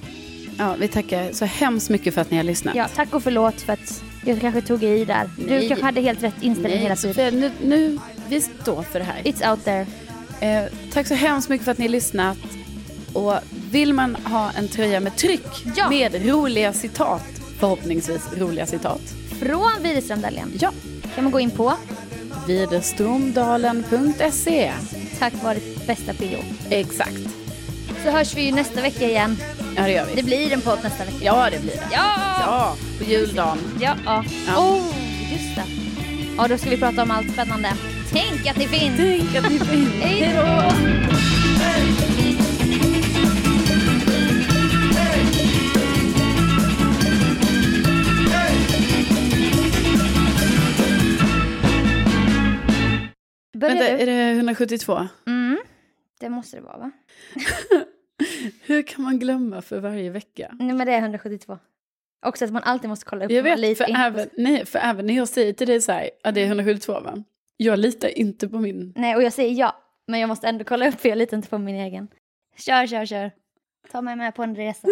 [SPEAKER 1] ja, vi tackar så hemskt mycket för att ni har lyssnat.
[SPEAKER 2] Ja, tack och förlåt för att Jag kanske tog i där. Du
[SPEAKER 1] Nej.
[SPEAKER 2] kanske hade helt rätt inställning hela
[SPEAKER 1] Nej,
[SPEAKER 2] tiden.
[SPEAKER 1] Sofia, nu, nu, vi står för det här.
[SPEAKER 2] It's out there.
[SPEAKER 1] Eh, tack så hemskt mycket för att ni har lyssnat. Och vill man ha en tröja med tryck
[SPEAKER 2] Ja.
[SPEAKER 1] med roliga citat, förhoppningsvis roliga citat,
[SPEAKER 2] Från Widerström Dahlén
[SPEAKER 1] ja,
[SPEAKER 2] kan man gå in på
[SPEAKER 1] widerstromdalen.se.
[SPEAKER 2] Tack vare ditt bästa PO.
[SPEAKER 1] Exakt,
[SPEAKER 2] Så hörs vi ju nästa vecka igen.
[SPEAKER 1] ja det gör vi.
[SPEAKER 2] Det blir en podd nästa vecka.
[SPEAKER 1] Ja, det blir det.
[SPEAKER 2] Ja!
[SPEAKER 1] Ja, på juldagen.
[SPEAKER 2] Ja! ja. Oh, just det. Ja, då ska vi prata om allt spännande. Tänk att ni finns!
[SPEAKER 1] Tänk att ni får in.
[SPEAKER 2] Hej då!
[SPEAKER 1] Vänta,
[SPEAKER 2] Börjar
[SPEAKER 1] är
[SPEAKER 2] du?
[SPEAKER 1] det 172?
[SPEAKER 2] Mm. Det måste det vara va?
[SPEAKER 1] Hur kan man glömma för varje vecka?
[SPEAKER 2] Nej men det är 172. Också att man alltid måste kolla upp.
[SPEAKER 1] Jag
[SPEAKER 2] om man
[SPEAKER 1] vet,
[SPEAKER 2] litar
[SPEAKER 1] för
[SPEAKER 2] inte på-
[SPEAKER 1] även, nej, för även när jag säger till dig så här, ja det är 172 va? Jag litar inte på min.
[SPEAKER 2] Nej och jag säger ja. Men jag måste ändå kolla upp för jag litar inte på min egen. Kör, kör, kör. Ta mig med på en resa.